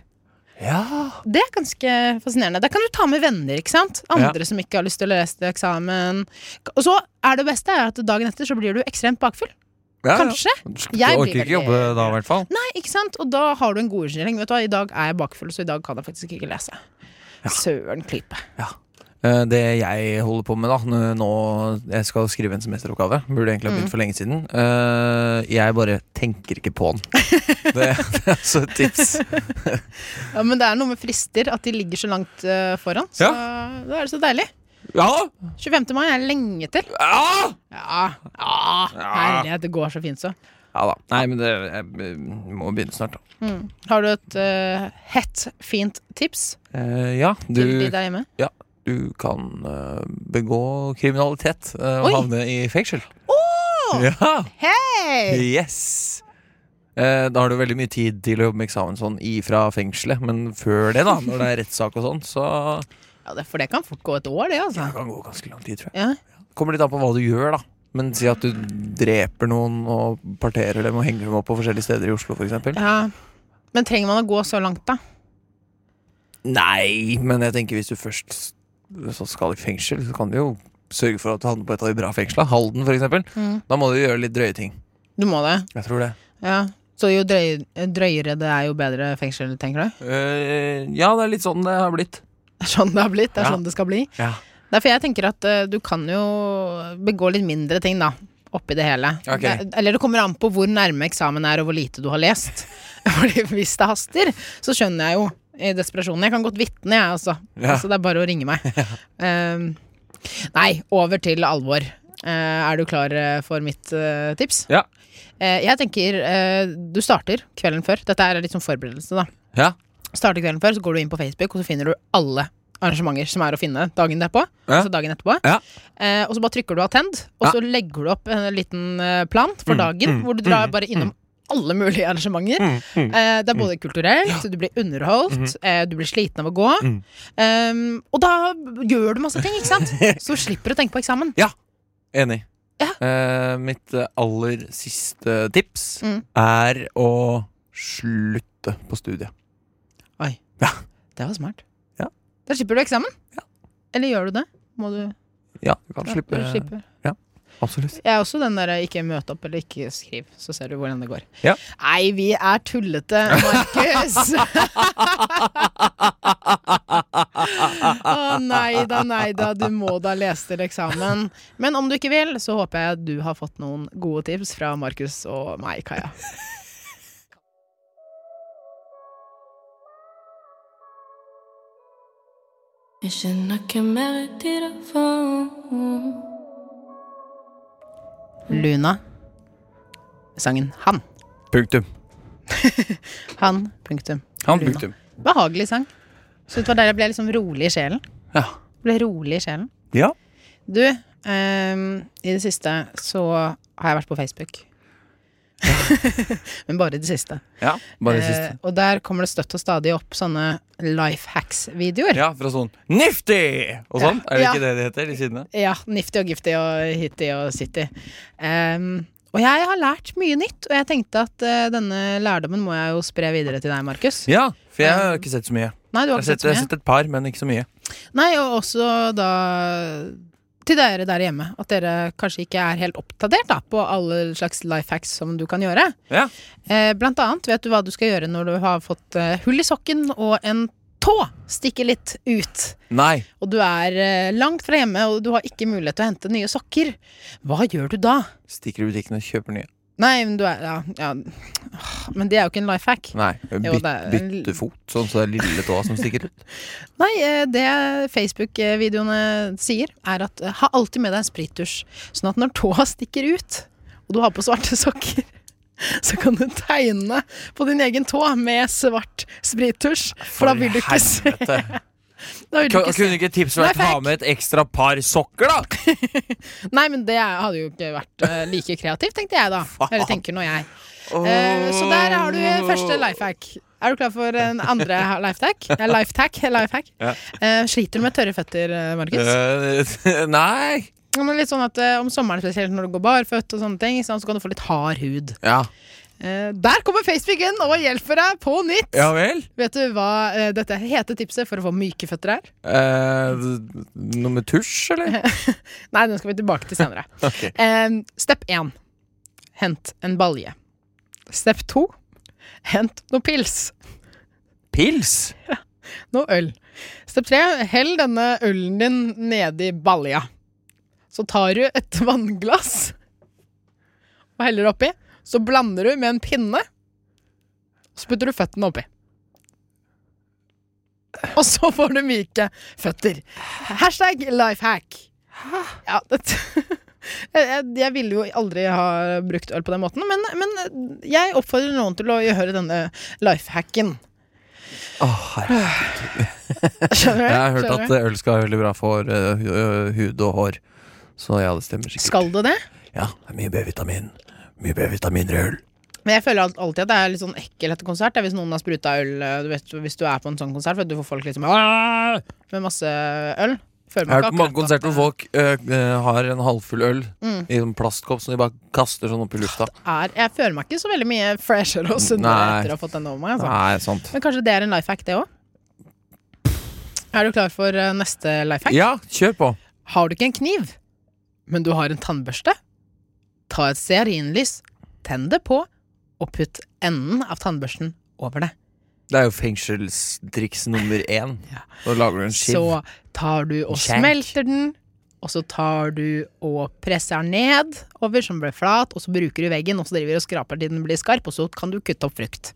S2: ja.
S3: Det er ganske fascinerende. Da kan du ta med venner. ikke sant? Andre som ikke har lyst til å lese til eksamen. Og så er det beste er at dagen etter så blir du ekstremt bakfull.
S2: Ja,
S3: Kanskje.
S2: Ja.
S3: Jeg blir
S2: Du orker ikke
S3: veldig-
S2: jobbe da, i hvert fall.
S3: Nei, ikke sant? Og da har du en god unnskyldning. Vet du hva, i dag er jeg bakfull, så i dag kan jeg faktisk ikke lese. Søren klype.
S2: Eh, Det jeg holder på med da n- Nå jeg skal skrive en semesteroppgave Burde egentlig
S3: Mm.
S2: ha begynt for lenge siden Eh, Jeg bare tenker ikke på den Det, det er altså et tips
S3: Ja, men det er noe med frister, at de ligger så langt eh, foran. Så da er det så deilig.
S2: Ja!
S3: 25. mai er lenge til.
S2: Ja!
S3: Ja, ja, herlighet, det går så fint, så.
S2: Ja da, nei men det jeg, eh, må begynne snart da
S3: Har du et eh, hett, fint tips
S2: Eh, Ja,
S3: til de
S2: du,
S3: der hjemme?
S2: du kan eh, begå kriminalitet eh, Og
S3: Oi.
S2: havne i fengsel Ja,
S3: Hei!
S2: yes Eh, da har du veldig mye tid til å jobbe med eksamen sånn ifra fengselet Men før det da, når det er rettssak og sånn Så
S3: Ja, det, for det kan fort gå et år, det, altså.
S2: det kan gå ganske lang tid tror jeg
S3: Ja.
S2: Kommer litt an på hva du gjør, da. Men si at du dreper noen og parterer dem og henger dem opp på forskjellige steder i Oslo, f.eks.
S3: ja. Men trenger man å gå så langt, da?
S2: Nei, men jeg tenker hvis du først s- så skal i fengsel, så kan du jo sørge for at du havner på et av de bra fengsla. Halden, f.eks.
S3: Mm.
S2: Da må du gjøre litt drøye ting.
S3: Du må det.
S2: Jeg tror det.
S3: Ja. Så jo drøy, drøyere det er, jo bedre fengsel, tenker du?
S2: Eh, ja, det er litt sånn det har blitt.
S3: Det er sånn det har blitt. Det er
S2: Ja.
S3: sånn det skal bli.
S2: Ja.
S3: Derfor jeg tenker at eh, du kan jo begå litt mindre ting, da. Oppi det hele.
S2: Ok.
S3: Det, eller det kommer an på hvor nærme eksamen er, og hvor lite du har lest. Fordi hvis det haster, så skjønner jeg jo i desperasjonen. Jeg kan godt vitne, jeg, altså.
S2: Ja.
S3: Så det er bare å ringe meg. Um, nei, over til alvor. Eh, er du klar eh, for mitt eh, tips?
S2: Ja.
S3: Eh, jeg tenker eh, du starter kvelden før. Dette er litt sånn forberedelse, da.
S2: Ja.
S3: Starter kvelden før, så går du inn på Facebook, og så finner du alle arrangementer som er å finne dagen derpå.
S2: Ja.
S3: Altså dagen etterpå.
S2: Ja.
S3: Eh, og så bare trykker du 'attend', og
S2: Ja. Mm.
S3: så legger du opp en liten eh, plan for dagen, hvor du drar bare innom alle mulige arrangementer.
S2: Mm.
S3: Eh, det er både kulturelt, du blir underholdt,
S2: Mm-hmm.
S3: eh, du blir sliten av å gå.
S2: Mm.
S3: Eh, og da gjør du masse ting, ikke sant? Så slipper du å tenke på eksamen.
S2: Enig.
S3: Ja.
S2: Eh, mitt eh, aller siste tips
S3: Mm.
S2: er å slutte på studiet.
S3: Det var smart.
S2: Ja.
S3: Da slipper du eksamen.
S2: Ja.
S3: Eller gjør du det? Må du
S2: Ja, du kan
S3: Ja,
S2: slippe.
S3: du slipper.
S2: Absolutt.
S3: Jeg er også den der eh, ikke møt opp eller ikke skriv, så ser du hvordan det går.
S2: Ja.
S3: Nei, vi er tullete, Markus! Å nei da, nei da, du må da lese til eksamen. Men om du ikke vil, så håper jeg du har fått noen gode tips fra Markus og meg, Kaja.
S7: Jeg kjenner hvem jeg er til deg for.
S3: Luna. Sangen Han.
S2: Punktum.
S3: Han, punktum.
S2: Han
S3: Luna.
S2: punktum.
S3: Behagelig sang. Så det var der jeg ble liksom rolig i sjelen.
S2: Ja.
S3: Ble rolig i sjelen.
S2: ja.
S3: Du, ehm, i det siste så har jeg vært på Facebook. Men bare i det siste.
S2: ja. Bare det
S3: Eh,
S2: siste.
S3: og der kommer det støtt og stadig opp sånne life hacks-videoer.
S2: Ja, fra sånn Nifty! Og sånn. Er det
S3: Ja.
S2: ikke det det heter? De sidene?
S3: Ja, Nifty og Gifty og Hitty og City. Ehm, og jeg har lært mye nytt, og jeg tenkte at eh, denne lærdommen må jeg jo spre videre til deg, Markus.
S2: Ja, for jeg har ikke sett så mye.
S3: Nei, Eh. du har
S2: Jeg har
S3: ikke
S2: sett,
S3: sett så
S2: jeg har
S3: mye.
S2: sett et par, men ikke så mye.
S3: Nei, og også da til dere der hjemme. At dere kanskje ikke er helt oppdatert da, på alle slags life hacks som du kan gjøre.
S2: Ja.
S3: Eh, blant annet vet du hva du skal gjøre når du har fått eh, hull i sokken og en tå stikker litt ut.
S2: Nei.
S3: Og du er eh, langt fra hjemme og du har ikke mulighet til å hente nye sokker. Hva gjør du da?
S2: Stikker i butikken og kjøper nye.
S3: Nei, men du er Ja, ja. Men det er jo ikke en life hack.
S2: Nei.
S3: Jo,
S2: Byt,
S3: det er-
S2: bytte fot, sånn så det er lille tåa som stikker ut.
S3: Nei, eh, det Facebook-videoene sier, er at eh, ha alltid med deg en sprittusj. Sånn at når tåa stikker ut, og du har på svarte sokker, så kan du tegne på din egen tå med svart sprittusj. For da vil du ikke se.
S2: helvete.
S3: Da vil du
S2: Kun-
S3: ikke se.
S2: Kunne ikke tipset
S3: Nei,
S2: vært
S3: for jeg-
S2: ha med et ekstra par sokker, da?
S3: Nei, men det hadde jo ikke vært eh, like kreativt, tenkte jeg da. Eller tenker nå jeg. Eh, så der har du første life hack. Er du klar for en andre life hack? Eh, Life hack? Life hack. Eh, sliter du med tørre føtter, eh, Markus?
S2: Eh, nei.
S3: Ja, men litt sånn at eh, Om sommeren spesielt, når du går barføtt, og sånne ting ikke sant, så kan du få litt hard hud.
S2: Ja.
S3: Eh, der kommer Facebook inn og hjelper deg på nytt!
S2: ja vel?
S3: Vet du hva eh, dette hete tipset for å få myke føtter er?
S2: Eh, noe med tusj, eller?
S3: Nei, den skal vi tilbake til senere.
S2: Ok.
S3: Eh, step 1. Hent en balje. Step 2. Hent noe pils.
S2: Pils?
S3: Noe øl. Step 3. Hell denne ølen din nedi balja. Så tar du et vannglass og heller oppi. Så blander du med en pinne, og så putter du føttene oppi. Og så får du myke føtter. Hashtag life hack. Ja, det, jeg, jeg ville jo aldri ha brukt øl på den måten, men, men jeg oppfordrer noen til å gjøre denne life hacken.
S2: Å, herre.
S3: Skjønner du?
S2: jeg har
S3: Skjønner
S2: hørt
S3: du?
S2: at eh, øl skal være veldig bra for eh, hu- ø, hud og hår. Så ja, det stemmer sikkert.
S3: Skal det det?
S2: Ja, det er mye B-vitamin. Mye B-vitamin i øl.
S3: Men jeg føler alt- alltid at det er litt sånn ekkel etter konsert. Det er hvis noen har spruta øl eh, du vet, Hvis du er på en sånn konsert, for du får folk liksom «Aah!» med masse øl. Føler
S2: Jeg
S3: man ikke
S2: har hørt på
S3: Mm.
S2: mange
S3: akkurat
S2: konserter hvor
S3: at
S2: folk ø, ø, har en halvfull øl i en plastkopp som de bare kaster sånn opp i lufta.
S3: det er, Jeg føler meg ikke så veldig mye freshere og sunnere
S2: Nei.
S3: etter å ha fått den over meg. Altså.
S2: Nei, sant.
S3: Men kanskje det er en life hack, det òg? Er du klar for eh, neste life hack?
S2: Ja, kjør på.
S3: Har du ikke en kniv, men du har en tannbørste? Ta et stearinlys, tenn det på, og putt enden av tannbørsten over det.
S2: Det er jo fengselstriks nummer én. Da lager du en skiv.
S3: Så tar du og
S2: Skjenk.
S3: smelter den, og så tar du og presser den ned over, så den blir flat, og så bruker du veggen, og så driver du og skraper til den blir skarp, og så kan du kutte opp frukt.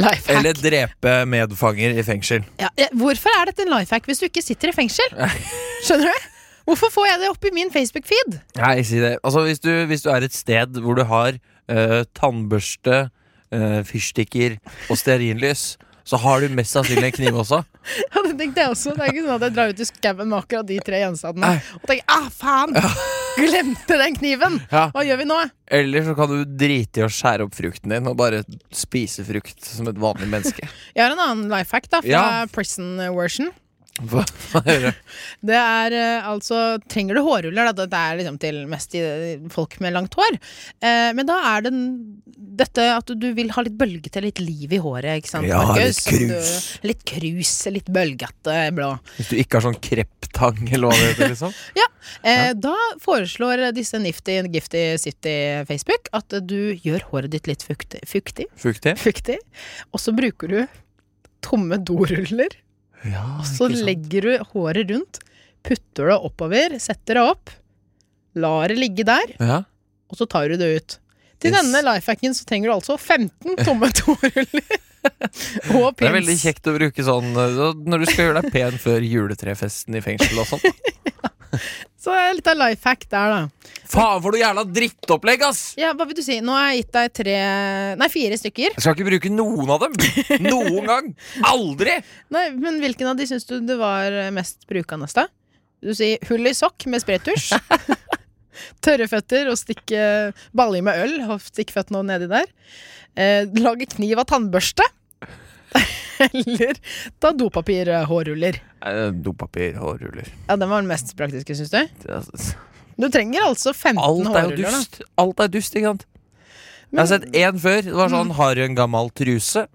S3: Life hack.
S2: Eller drepe medfanger i fengsel.
S3: Ja, eh, hvorfor er dette en life hack hvis du ikke sitter i fengsel? Skjønner du? Hvorfor får jeg det opp i min Facebook-feed?
S2: Nei, si det. Altså, hvis du, hvis du er et sted hvor du har ø, tannbørste, ø, fyrstikker og stearinlys, så har du mest sannsynlig en kniv også.
S3: Ja, det tenkte jeg også. Det er ikke sånn at jeg drar ut i skauen med akkurat de tre gjenstandene
S2: Nei.
S3: og tenker ah, faen! Glemte den kniven!
S2: Ja.
S3: Hva gjør vi nå?
S2: Eller så kan du drite i å skjære opp frukten din og bare spise frukt som et vanlig menneske.
S3: Jeg har en annen life hack da, fra
S2: Ja.
S3: prison version.
S2: Hva- hva gjør jeg?
S3: Det er eh, altså Trenger du hårruller, da? Dette er liksom til mest i- folk med langt hår. Eh, men da er det n- dette at du vil ha litt bølgete, litt liv i håret, ikke sant?
S2: Ja,
S3: Markus?
S2: litt
S3: At
S2: krus.
S3: Du, litt krus, litt bølgete blå.
S2: Hvis du ikke har sånn kreptang eller hva det heter, liksom.
S3: Eh, Da foreslår disse Nifty Gifty City Facebook at du gjør håret ditt litt fuktig. Fuktig.
S2: Fuktig.
S3: fuktig og så bruker du tomme doruller.
S2: Ja,
S3: Og så
S2: ikke sant.
S3: legger du håret rundt, putter det oppover, setter det opp, lar det ligge der,
S2: ja.
S3: og så tar du det ut. Til
S2: Yes.
S3: denne lifehacken så trenger du altså 15 tomme toruller. Og prins.
S2: Det er veldig kjekt å bruke sånn eh, når du skal gjøre deg pen før juletrefesten i fengsel og sånn.
S3: Så det er litt av life hack der, da.
S2: Faen for noe jævla drittopplegg, ass!
S3: Ja, Hva vil du si? Nå har jeg gitt deg tre Nei, fire stykker.
S2: Jeg skal ikke bruke noen av dem! Noen gang! Aldri!
S3: Nei, Men hvilken av de syns du det var mest brukende, da? Du sier hull i sokk med spraytusj. Tørre føtter og stikke baller i med øl. og Stikke føttene over nedi der. Eh, lage kniv av tannbørste. Eller ta dopapirhårruller.
S2: Eh, Dopapir, hårruller
S3: Ja, den var den mest praktiske, syns du?
S2: Det er-
S3: Du trenger altså 15
S2: Alt er jo
S3: hårruller, da.
S2: dust. Alt er dust, ikke sant? Jeg har sett én før. Det var sånn Har du en gammel truse?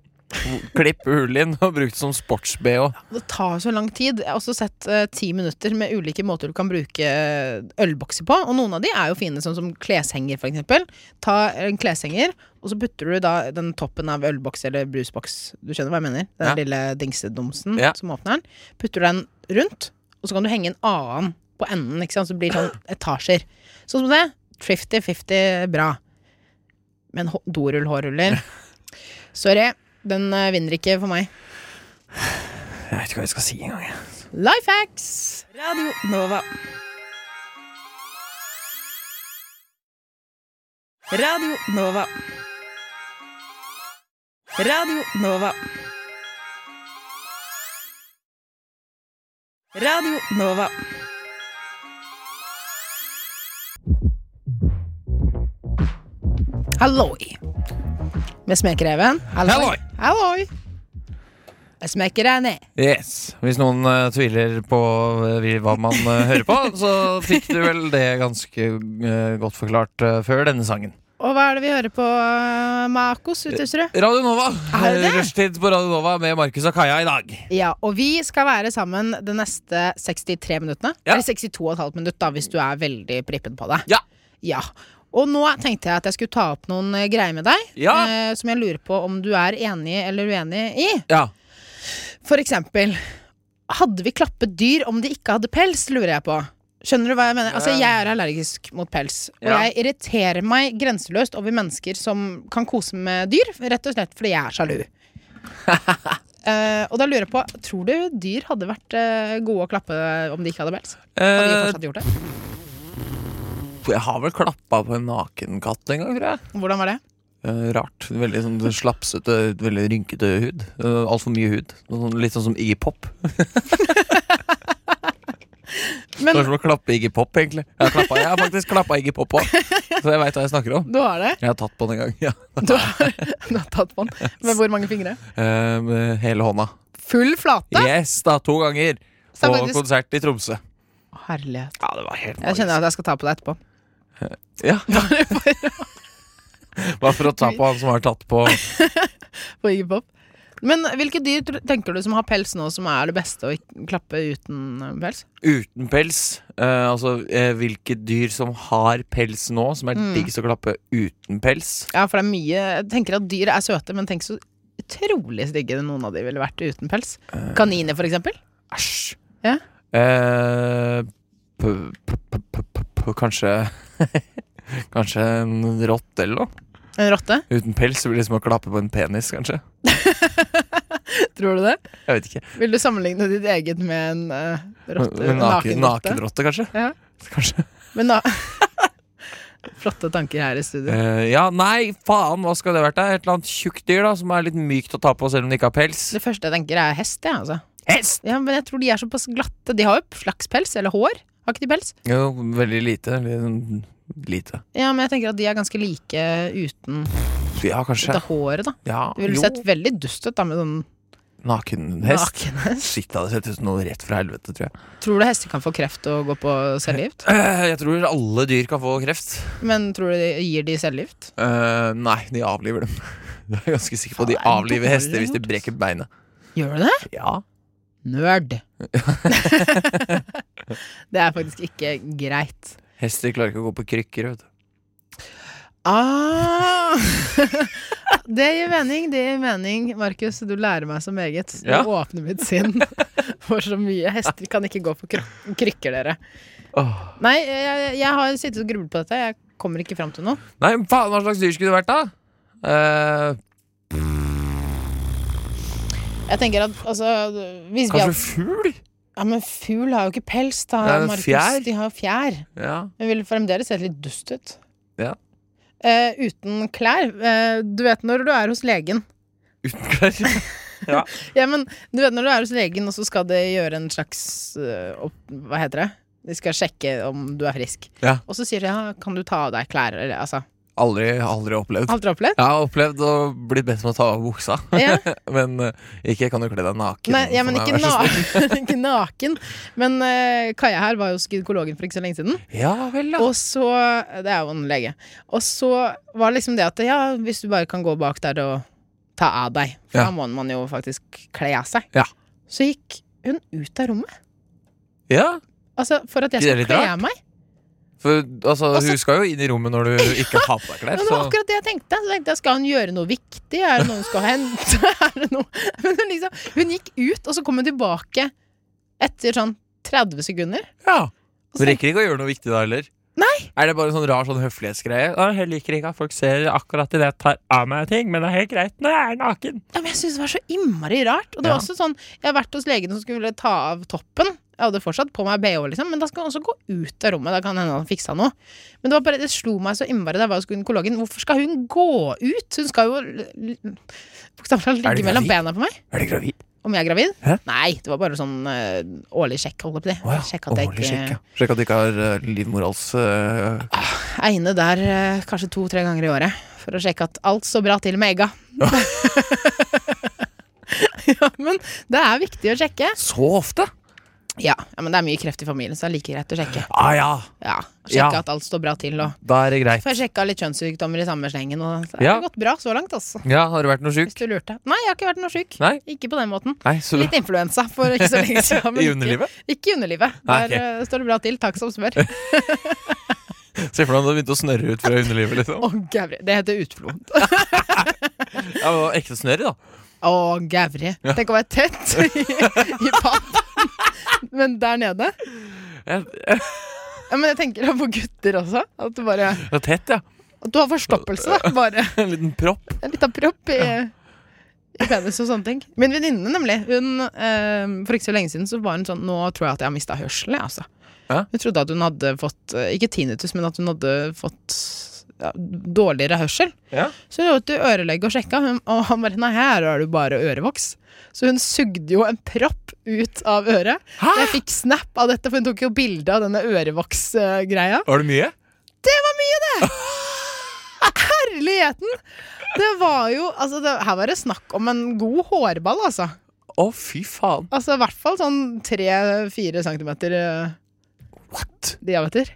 S2: Klippe hull inn og brukt som sports-BH.
S3: Det tar så lang tid. Jeg har også sett eh, ti minutter med ulike måter du kan bruke eh, ølbokser på. Og noen av de er jo fine, sånn som kleshenger, for eksempel. Ta en kleshenger, og så putter du da den toppen av ølboks eller brusboks. Du skjønner hva jeg mener? Den
S2: Ja.
S3: lille dingsedumsen
S2: Ja.
S3: som åpner den. Putter den rundt, og så kan du henge en annen på enden, ikke sant? så det blir sånn etasjer. Sånn som det. 50-50 bra. Men hå- dorull-hårruller Sorry, den eh, vinner ikke for meg.
S2: Jeg vet ikke hva jeg skal si engang. jeg.
S3: Life hacks!
S8: Radio Nova. Radio Nova. Radio Nova. Radio Nova.
S3: Halloi. Med smekreven.
S2: Halloi.
S3: Halloi. Jeg smeker deg ned.
S2: Yes. Hvis noen eh, tviler på eh, hva man eh, hører på, så fikk du vel det ganske eh, godt forklart eh, før denne sangen.
S3: Og hva er det vi hører på, eh, Makos Utøsterud?
S2: Radio Nova.
S3: Er det det?
S2: Rushtid på Radio Nova med Markus og Kaja i dag.
S3: Ja, og vi skal være sammen de neste 63 minuttene.
S2: Ja.
S3: Eller 62,5 minutt, da, hvis du er veldig prippen på det.
S2: Ja.
S3: Ja. Og nå tenkte jeg at jeg skulle ta opp noen eh, greier med deg,
S2: Ja.
S3: eh, som jeg lurer på om du er enig eller uenig i.
S2: Ja.
S3: For eksempel Hadde vi klappet dyr om de ikke hadde pels, lurer jeg på. Skjønner du hva jeg mener? Altså, Jeg er allergisk mot pels, og
S2: Ja.
S3: jeg irriterer meg grenseløst over mennesker som kan kose med dyr, rett og slett fordi jeg er sjalu. Eh, og da lurer jeg på, tror du dyr hadde vært eh, gode å klappe om de ikke hadde pels? Hadde de
S2: Eh,
S3: fortsatt gjort det?
S2: jeg har vel klappa på en naken katt en gang, tror jeg.
S3: Hvordan var det?
S2: Eh, rart. Veldig sånn slapsete, veldig rynkete hud. Uh, Altfor mye hud. Sånn, litt sånn som Iggy Pop.
S3: Men
S2: Det er som å klappe Iggy Pop, egentlig. Jeg har, klappet, jeg har faktisk klappa Iggy Pop òg, så jeg veit hva jeg snakker om.
S3: du har det?
S2: Jeg har tatt på den en gang. Ja.
S3: Du har, du har tatt på den. Med hvor mange fingre?
S2: Eh, med hele hånda.
S3: Full flate?
S2: Yes, da, to ganger.
S3: Så
S2: På
S3: faktisk-
S2: konsert i Tromsø.
S3: Herlighet.
S2: Ja, det var helt
S3: Jeg kjenner at jeg skal ta på deg etterpå.
S2: Ja. Bare for å ta på han som har tatt på
S3: på Iggy Pop. Men hvilke dyr tr- tenker du som har pels nå, som er det beste å ikke klappe uten eh, pels?
S2: uten pels. Eh, altså eh, hvilke dyr som har pels nå, som
S3: Mm.
S2: er diggest å klappe uten pels.
S3: Ja, for det er mye Jeg tenker at dyr er søte, men tenk så utrolig stygge noen av de ville vært uten pels. Kaniner, for eksempel.
S2: Æsj.
S3: Ja.
S2: Eh, p p p p p p kanskje Kanskje en rotte eller noe?
S3: En rotte.
S2: Uten pels det blir det som å klappe på en penis, kanskje.
S3: Tror du det?
S2: Jeg vet ikke.
S3: Vil du sammenligne ditt eget med en eh, rotte?
S2: Men naken,
S3: nakenrotte?
S2: nakenrotte, kanskje?
S3: Ja.
S2: Kanskje.
S3: Men na Flotte tanker her i studio.
S2: Eh, ja, nei, faen, hva skal det vært? da? Et eller annet tjukt dyr da som er litt mykt å ta på selv om det ikke har pels.
S3: Det første jeg tenker, er hest, jeg, ja, altså.
S2: Hest!
S3: Ja, men jeg tror de er såpass glatte. De har jo slags pels, eller hår. Har ikke de pels?
S2: Jo, veldig lite. Litt sånn Lite.
S3: Ja, men jeg tenker at de er ganske like uten
S2: Ja, kanskje.
S3: dette håret, da.
S2: Ja,
S3: Det ville
S2: jo.
S3: sett veldig dust ut da med sånn
S2: Nakenhest.
S3: nakenhest.
S2: Shit, det hadde sett ut som noe rett fra helvete, tror jeg.
S3: Tror du hester kan få kreft og gå på cellegift?
S2: Eh, jeg tror alle dyr kan få kreft.
S3: Men tror du de gir de cellegift?
S2: Eh, nei, de avliver dem. Jeg er ganske sikker på at De
S3: Faen, det er
S2: avliver hester hvis de
S3: dårlig
S2: brekker beinet.
S3: Gjør du det?
S2: Ja.
S3: Nerd. det er faktisk ikke greit.
S2: Hester klarer ikke å gå på krykker, vet du.
S3: Ah. det gir mening, det gir mening. Markus, du lærer meg så meget. Du
S2: Ja.
S3: åpner mitt sinn for så mye. Hester kan ikke gå på kro- krykker, dere.
S2: Åh.
S3: Nei, jeg, jeg har sittet og grublet på dette. Jeg kommer ikke fram til noe.
S2: Nei, men faen, hva slags dyr skulle det vært, da? Eh,
S3: Jeg tenker at altså hvis vi
S2: Kanskje
S3: hadde-
S2: fugl?
S3: Ja, men fugl har jo ikke pels, da.
S2: Det er en
S3: Markus.
S2: fjær.
S3: De har jo fjær.
S2: Ja.
S3: Hun ville fremdeles sett litt dust ut.
S2: Ja.
S3: Eh, uten klær. Eh, du vet når du er hos legen.
S2: Uten klær.
S3: Ja, men du vet når du er hos legen, og så skal de gjøre en slags eh, opp, Hva heter det? De skal sjekke om du er frisk.
S2: Ja.
S3: Og så sier de ja, kan du ta av deg klær, eller altså
S2: Aldri, aldri opplevd.
S3: Alt er opplevd?
S2: Jeg har opplevd å bli bedt om å ta av buksa,
S3: Ja.
S2: men eh, ikke kan du kle deg naken.
S3: Nei, ja,
S2: for
S3: men
S2: meg,
S3: ikke,
S2: vær så snill.
S3: na ikke naken. Men eh, Kaja her var jo hos gynekologen for ikke så lenge siden.
S2: Ja vel, da.
S3: Og så Det er jo en lege. Og så var det liksom det at ja, hvis du bare kan gå bak der og ta av deg, for
S2: Ja.
S3: da må man jo faktisk kle av seg.
S2: Ja.
S3: Så gikk hun ut av rommet.
S2: Ja,
S3: Altså for at jeg
S2: Ikke
S3: skulle
S2: det litt
S3: kle
S2: rart?
S3: av meg.
S2: for altså,
S3: Og så-
S2: hun skal jo inn i rommet når du ikke har på deg
S3: Men
S2: klær.
S3: det
S2: Så
S3: var akkurat det jeg tenkte. Så tenkte jeg, Skal hun gjøre noe viktig? Er det noe hun skal hente? Er det noe? Men hun liksom, hun gikk ut, og så kom hun tilbake etter sånn 30 sekunder.
S2: ja. Du rekker ikke å gjøre noe viktig da heller. Nei Er det bare en sånn rar sånn høflighetsgreie? Ja, Jeg liker ikke at folk ser akkurat idet jeg tar av meg ting, men det er helt greit når jeg er naken.
S3: Ja, men jeg synes det var så innmari rart. Og det
S2: Ja.
S3: var også sånn, Jeg har vært hos legen som skulle ta av toppen. Jeg hadde fortsatt på meg BH, liksom, men da skal han også gå ut av rommet. Da kan hende han fiksa noe. Men det var bare, det slo meg så innmari da jeg var hos gynekologen. Hvorfor skal hun gå ut? Hun skal jo l- l- bokstavelig talt
S2: Er du
S3: ligge mellom
S2: gravid?
S3: bena på meg.
S2: Er du gravid?
S3: Om jeg er gravid?
S2: Hæ?
S3: Nei, det var bare sånn eh, årlig sjekk. holdt jeg på å si. Sjekk at jeg
S2: Årlig sjekk, ja.
S3: ikke
S2: Sjekk at du ikke har eh, livmorhals eh,
S3: Egne der eh, kanskje to-tre ganger i året for å sjekke at alt står bra til med egga. ja, men det er viktig å sjekke.
S2: så ofte.
S3: Ja, ja, men det er mye kreft i familien, så det er like greit å sjekke.
S2: Ah, ja,
S3: Ja, Sjekke
S2: Ja.
S3: at alt står bra til, og
S2: da er det greit.
S3: får jeg sjekka litt kjønnssykdommer i samme slengen, og så har
S2: Ja.
S3: det gått bra så langt, altså.
S2: Ja, Har du vært noe sjuk?
S3: Hvis du lurte. Nei, jeg har ikke vært noe sjuk.
S2: Nei?
S3: Ikke på den måten.
S2: Nei, så
S3: Litt influensa for ikke så lenge siden. men
S2: I
S3: ikke-
S2: underlivet?
S3: Ikke i underlivet. Der
S2: Nei, ok.
S3: eh, står det bra til. Takk som spør. Å,
S2: Se for deg om det begynte å snørre ut fra underlivet. liksom
S3: Gavri. Det heter utflo.
S2: Ja, men det var Ekte snørr, da.
S3: Å, Gavri. Tenk å være tett i, i papp. Men der nede
S2: Jeg,
S3: ja, Men jeg tenker da på gutter også. At du bare
S2: jeg var tett, ja.
S3: At du har forstoppelse, da. Bare.
S2: En liten propp.
S3: En liten propp i, i penis og sånne ting. Min venninne, nemlig, hun eh, For ikke så lenge siden så var hun sånn Nå tror jeg at jeg har mista hørselen, jeg, altså.
S2: Ja.
S3: Hun trodde at hun hadde fått eh, Ikke tinnitus, men at hun hadde fått ja, dårligere hørsel.
S2: Ja.
S3: Så hun gikk til ørelegge og sjekka, hun, og han bare Nei, her har du bare ørevoks. Så hun sugde jo en propp ut av øret.
S2: Hæ?
S3: Jeg fikk snap av dette, for hun tok jo bilde av denne ørevoksgreia.
S2: Var det mye?
S3: Det var mye, det! Herligheten! Det var jo Altså, det, her var det snakk om en god hårball, altså.
S2: Å, fy faen.
S3: Altså i hvert fall sånn tre-fire centimeter eh,
S2: What?
S3: diameter.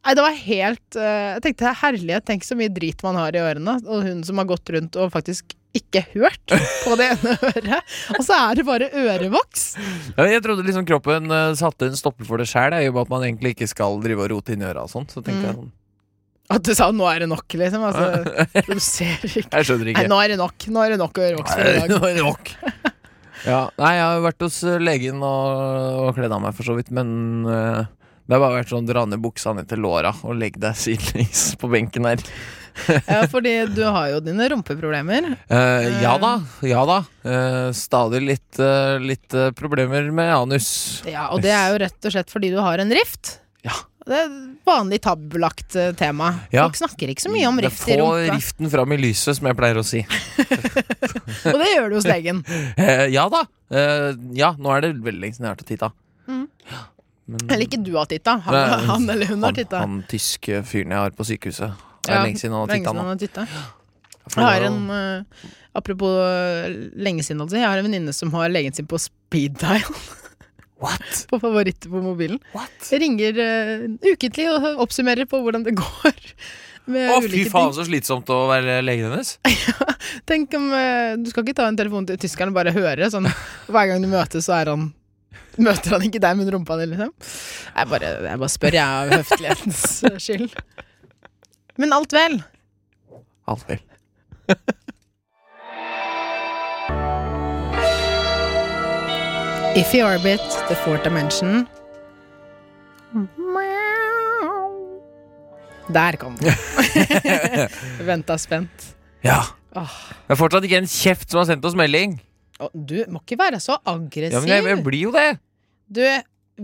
S3: Nei, det var helt eh, Jeg tenkte herlighet, tenk så mye drit man har i ørene. Og hun som har gått rundt og faktisk ikke hørt på det ene øret. Og så er det bare ørevoks!
S2: Ja, jeg trodde liksom kroppen eh, satte en stopper for det sjæl, i og med at man egentlig ikke skal drive og rote inn i øra og sånn. Så tenkte
S3: Mm.
S2: jeg sånn
S3: At du sa 'nå er det nok', liksom. Altså, produserer ikke.
S2: Jeg skjønner
S3: Nei,
S2: ikke.
S3: nå er det nok. Nå er det nok ørevoks for i dag.
S2: Nå er det nok. Ja, nei, jeg har jo vært hos eh, legen og, og kledd av meg, for så vidt, men eh, det har bare vært sånn dra ned buksa ned til låra og legg deg sidelengs på benken her.
S3: Ja, fordi du har jo dine rumpeproblemer.
S2: Eh, ja da, ja da. Eh, stadig litt, eh, litt eh, problemer med anus.
S3: Ja, og det er jo rett og slett fordi du har en rift.
S2: Ja.
S3: Det er et vanlig tabulagt eh, tema.
S2: Ja.
S3: Folk snakker ikke så mye om
S2: Det
S3: rift i rumpa,
S2: Få riften fram i lyset, som jeg pleier å si.
S3: og det gjør du hos legen.
S2: Eh, ja da. Eh, ja, nå er det veldig lenge siden jeg har vært og titta.
S3: Mm.
S2: Ja, men-
S3: Eller ikke du har titta, han,
S2: Nei,
S3: han eller hun har titta.
S2: Han, han tyske fyren jeg har på sykehuset. Det er
S3: Ja,
S2: lenge siden han har
S3: Lenge
S2: titta
S3: siden
S2: nå.
S3: han har tittet.
S2: For
S3: Jeg har
S2: det
S3: en,
S2: var jo-
S3: eh, apropos eh, lenge siden, altså, jeg har en venninne som har legen sin på speed dial
S2: What?
S3: på favoritter på mobilen.
S2: What?
S3: Jeg ringer eh, ukentlig og oppsummerer på hvordan det går med
S2: Å, fy
S3: eh, ulike ting.
S2: faen, så slitsomt å være legen hennes.
S3: Tenk om eh, Du skal ikke ta en telefon til tyskeren og bare høre. Sånn, hver gang du møtes, så er han Møter han ikke deg, men rumpa di, liksom. Jeg bare, jeg bare spør, jeg, av høflighetens skyld. Men alt vel.
S2: Alt vel.
S3: If you orbit the fourth dimension Der kom den. Venta spent.
S2: Ja.
S3: Åh.
S2: Det er fortsatt ikke en kjeft som har sendt oss melding.
S3: Å, Du må ikke være så aggressiv.
S2: Ja, men jeg, jeg blir jo det.
S3: Du,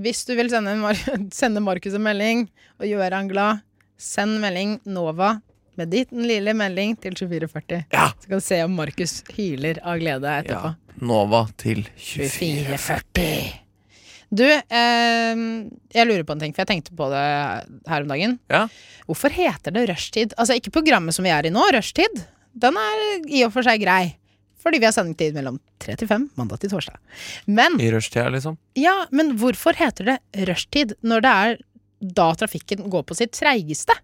S3: hvis du vil sende, en Mar sende Markus en melding og gjøre han glad, send melding Nova med din lille melding til 2440.
S2: Ja.
S3: Så kan du se om Markus hyler av glede etterpå.
S2: Ja. Nova til 24.
S3: 2440. Du, eh, jeg lurer på en ting, for jeg tenkte på det her om dagen.
S2: Ja.
S3: Hvorfor heter det rushtid? Altså ikke programmet som vi er i nå, rushtid. Den er i og for seg grei. Fordi vi har sendetid mellom tre til fem, mandag til torsdag. Men
S2: I rushtida, liksom.
S3: ja, men hvorfor heter det rushtid når det er da trafikken går på sitt treigeste?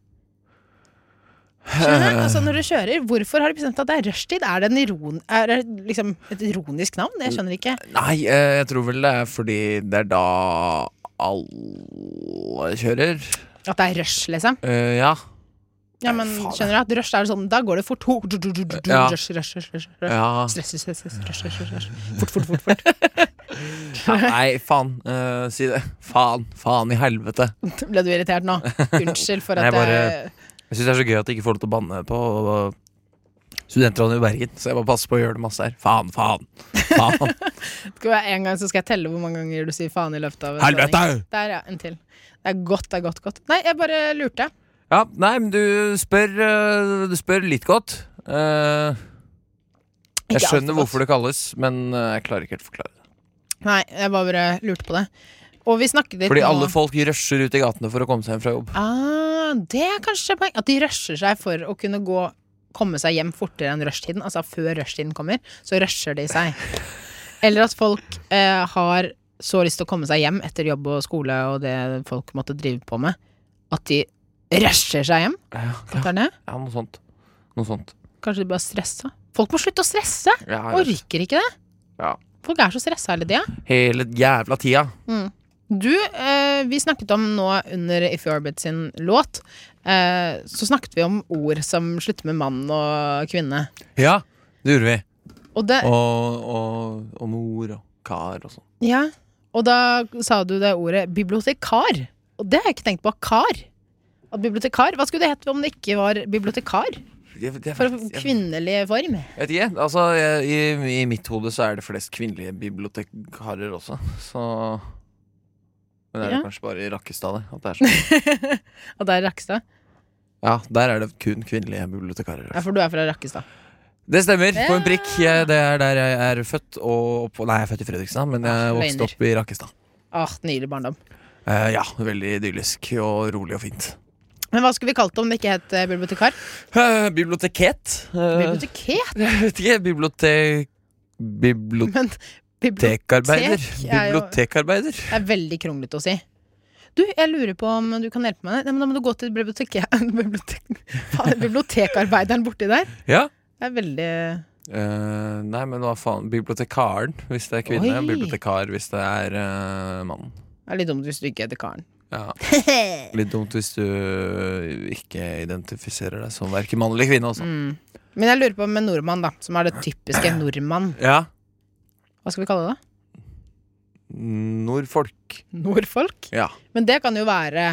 S3: Skjønner du? Altså når du kjører, Hvorfor har de bestemt at det er rushtid? Er det, en iron, er det liksom et ironisk navn? Jeg skjønner ikke.
S2: Nei, eh, jeg tror vel det er fordi det er da alle kjører.
S3: At det er rush, liksom.
S2: Eh, ja.
S3: Ja, men
S2: Faen.
S3: skjønner du at rush er sånn, Da går det fort. Ho, du, du, du, du, du,
S2: Ja.
S3: Rush, rush, rush, rush, rush.
S2: ja.
S3: Stress, stress, stress, rush, rush, rush, rush. Fort, fort, fort. fort.
S2: Nei, faen. eh, si det. Faen. Faen i helvete.
S3: Ble du irritert nå? Unnskyld for
S2: Nei,
S3: at
S2: jeg
S3: jeg
S2: Jeg syns det er så gøy at jeg ikke får lov til å banne på studentene i Bergen. Så jeg må passe på å gjøre det masse her. Faen, faen, faen.
S3: Skal vi ha en gang, så skal jeg telle hvor mange ganger du sier faen i løpet av en sending.
S2: Helvete!
S3: Der, ja. En til. Det er godt, det er godt, godt. Nei, jeg bare lurte.
S2: Ja, nei, men du spør, eh, du spør litt godt. Eh, jeg
S3: Ikke alt
S2: skjønner
S3: for godt.
S2: hvorfor det kalles, men eh, jeg klarer ikke helt å forklare det.
S3: Nei, jeg bare bare lurte på det. Og vi snakket litt
S2: Fordi
S3: nå
S2: alle folk rusher ut i gatene for å komme seg hjem fra jobb.
S3: ah, Det er kanskje poeng. At de rusher seg for å kunne gå komme seg hjem fortere enn rushtiden. Altså før rushtiden kommer, så rusher de seg. Eller at folk eh, har så lyst til å komme seg hjem etter jobb og skole og det folk måtte drive på med, at de rusher seg hjem.
S2: Ja,
S3: Fatter du det?
S2: ja noe sånt. Noe sånt.
S3: Kanskje de bare stressa. Folk må slutte å stresse!
S2: Ja, jeg vet.
S3: Orker ikke det.
S2: Ja.
S3: Folk er så stressa hele tida.
S2: Hele jævla tida.
S3: Du, eh, vi snakket om nå under If You Orbit sin låt, eh, så snakket vi om ord som slutter med mann og kvinne.
S2: Ja, det gjorde vi.
S3: Og, det,
S2: Og, og, og mor og kar og sånn.
S3: ja, og da sa du det ordet bibliotekar. Og det har jeg ikke tenkt på. Kar. At bibliotekar, Hva skulle det hett om det ikke var bibliotekar?
S2: Jeg- jeg
S3: For
S2: vet- jeg-
S3: kvinnelig form.
S2: Jeg vet ikke. Altså, jeg, i, I mitt hode så er det flest kvinnelige bibliotekarer også, så Men det er
S3: Ja.
S2: det kanskje bare i Rakkestad det, at det er sånn.
S3: Og der Rakkestad.
S2: Ja, der er det kun kvinnelige bibliotekarer.
S3: Ja, for du er fra Rakkestad.
S2: Det stemmer, på
S3: Ja.
S2: en prikk. Jeg, det er der jeg er født og opp, Nei, jeg er født i Fredrikstad, men jeg
S3: Ah,
S2: vokste
S3: løgner.
S2: opp i Rakkestad.
S3: Åh, Nydelig barndom.
S2: Eh, ja, veldig idyllisk og rolig og fint.
S3: Men hva skulle vi kalt det om det ikke het eh, bibliotekar?
S2: Eh, biblioteket. Eh,
S3: Biblioteket?
S2: jeg vet ikke. Bibliotek...
S3: Men bibliotek
S2: Bibliotekarbeider.
S3: er jo-
S2: Bibliotekarbeider.
S3: Det er veldig kronglete å si. Du, jeg lurer på om du kan hjelpe meg. Nei, men da må du gå til biblioteket bibliotek, faen, bibliotekarbeideren borti der.
S2: Ja.
S3: Det er veldig
S2: Eh, nei, men hva faen? Bibliotekaren hvis det er kvinne.
S3: Oi.
S2: Bibliotekar hvis det er uh, mann.
S3: det er litt dumt hvis du ikke heter Karen.
S2: Ja. Litt dumt hvis du ikke identifiserer deg som verken mann eller kvinne. altså. Også.
S3: Mm. Men jeg lurer på med nordmann, da, som er det typiske nordmann.
S2: Ja.
S3: Hva skal vi kalle det? da?
S2: Nordfolk.
S3: Nordfolk?
S2: Ja.
S3: Men det kan jo være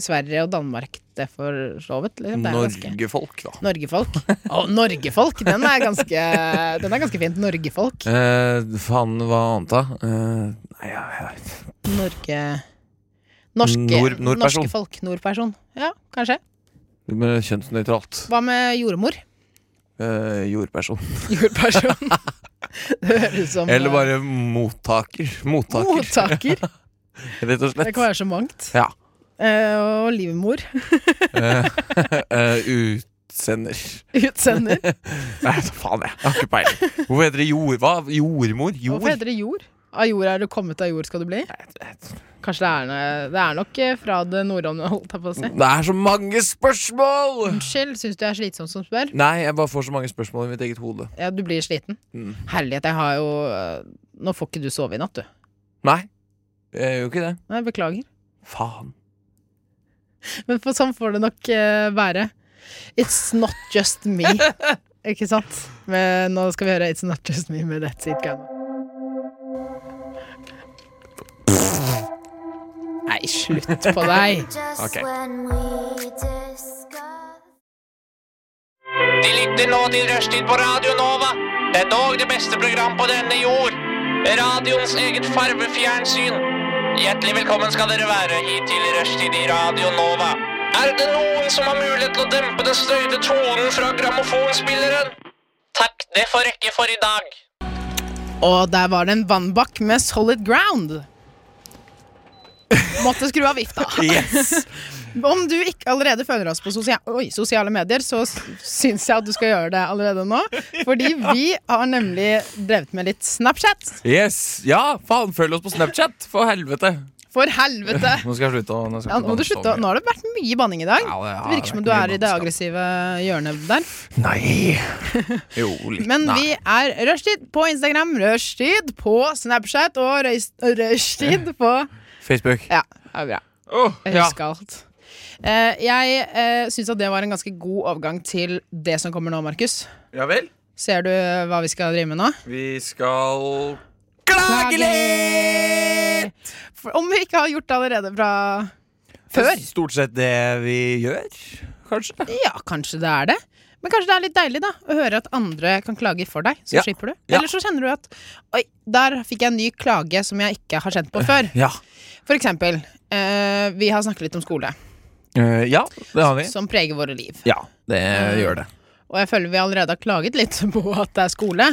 S3: Sverige og Danmark, det for så vidt. liksom. Det er ganske-
S2: Norgefolk, da.
S3: Norgefolk. Å, Norgefolk! Den er ganske, den er ganske fint. Norgefolk.
S2: Eh, faen, hva annet, da? Eh, nei, ja, ja.
S3: Norge Norske,
S2: Nord- nordperson.
S3: norske folk. Nordperson. Ja, kanskje.
S2: Men Kjønnsnøytralt.
S3: Hva med jordmor?
S2: Eh, jordperson.
S3: Jordperson. det høres ut som
S2: Eller bare mottaker.
S3: eh,
S2: Mottaker,
S3: mottaker.
S2: rett og
S3: Det
S2: slett.
S3: kan være så mangt.
S2: Ja.
S3: Eh, og livmor.
S2: Eh, eh, utsender.
S3: Utsender.
S2: Nei, så faen jeg. Jeg har ikke peiling. Hvorfor heter det jord? Hva? Jordmor? Jord?
S3: Hvorfor heter det jord? Av jord er du kommet, av jord skal du bli. Kanskje det er, noe- det er nok eh, fra det norrøne, holdt jeg på å si.
S2: Det er så mange spørsmål!
S3: Unnskyld, syns du jeg er slitsom som spør?
S2: Nei, jeg bare får så mange spørsmål i mitt eget hode.
S3: Ja, du blir sliten.
S2: Mm.
S3: Herlighet, jeg har jo eh, Nå får ikke du sove i natt, du.
S2: Nei, jeg gjør jo ikke det.
S3: Nei, beklager.
S2: Faen.
S3: Men for sånn får det nok eh, være. It's not just me. Ikke sant? Men nå skal vi høre It's not just me med That's It Gun. Nei, slutt på deg!
S2: Ok.
S9: when we discuss
S4: De
S9: lytter nå til Rushtid på Radio Nova. Det er dog det beste program på denne jord. Radioens eget farvefjernsyn. Hjertelig velkommen skal dere være hit til Rushtid i Radio Nova. Er det noen som har mulighet til å dempe den støyte tonen fra grammofonspilleren? Takk, det får rekke for i dag.
S3: Og der var det en vannbakk med solid ground. Måtte skru av vifta.
S2: Yes!
S3: Om du ikke allerede følger oss på sosia oi, sosiale medier, så s- syns jeg at du skal gjøre det allerede nå. Fordi vi har nemlig drevet med litt Snapchat.
S2: yes. Ja, faen, følg oss på Snapchat! For helvete!
S3: For helvete!
S2: Nå skal jeg slutte å nå skal
S3: Ja,
S2: jeg
S3: nå, må du
S2: ikke banne så
S3: slutte. å-
S2: mye.
S3: nå har det vært mye banning i dag.
S2: Ja, det har
S3: Det virker som
S2: vært
S3: du
S2: mye
S3: er i det
S2: bannskap.
S3: aggressive hjørnet der.
S2: Nei! Jo, litt.
S3: Men
S2: Nei.
S3: vi er rushtid på Instagram, rushtid på Snapchat og røys- rushtid på
S2: Facebook.
S3: Ja, det er bra.
S2: Åh,
S3: Jeg
S2: ja.
S3: husker alt. Eh, jeg uh, syns at det var en ganske god overgang til det som kommer nå, Markus.
S2: ja vel?
S3: Ser du hva vi skal drive med nå?
S2: Vi skal klage litt!
S3: For, om vi ikke har gjort det allerede fra
S2: Det
S3: før.
S2: er Stort sett det vi gjør, kanskje.
S3: Ja, kanskje det er det. Men kanskje det er litt deilig da å høre at andre kan klage for deg. Så
S2: Ja.
S3: slipper du.
S2: Ja.
S3: Eller så kjenner du at Oi, der fikk jeg en ny klage som jeg ikke har kjent på før.
S2: Ja.
S3: For eksempel, eh, vi har snakket litt om skole,
S2: Eh, ja, det har vi.
S3: som preger våre liv.
S2: Ja, det
S3: Eh,
S2: gjør det.
S3: Og jeg føler vi allerede har klaget litt på at det er skole.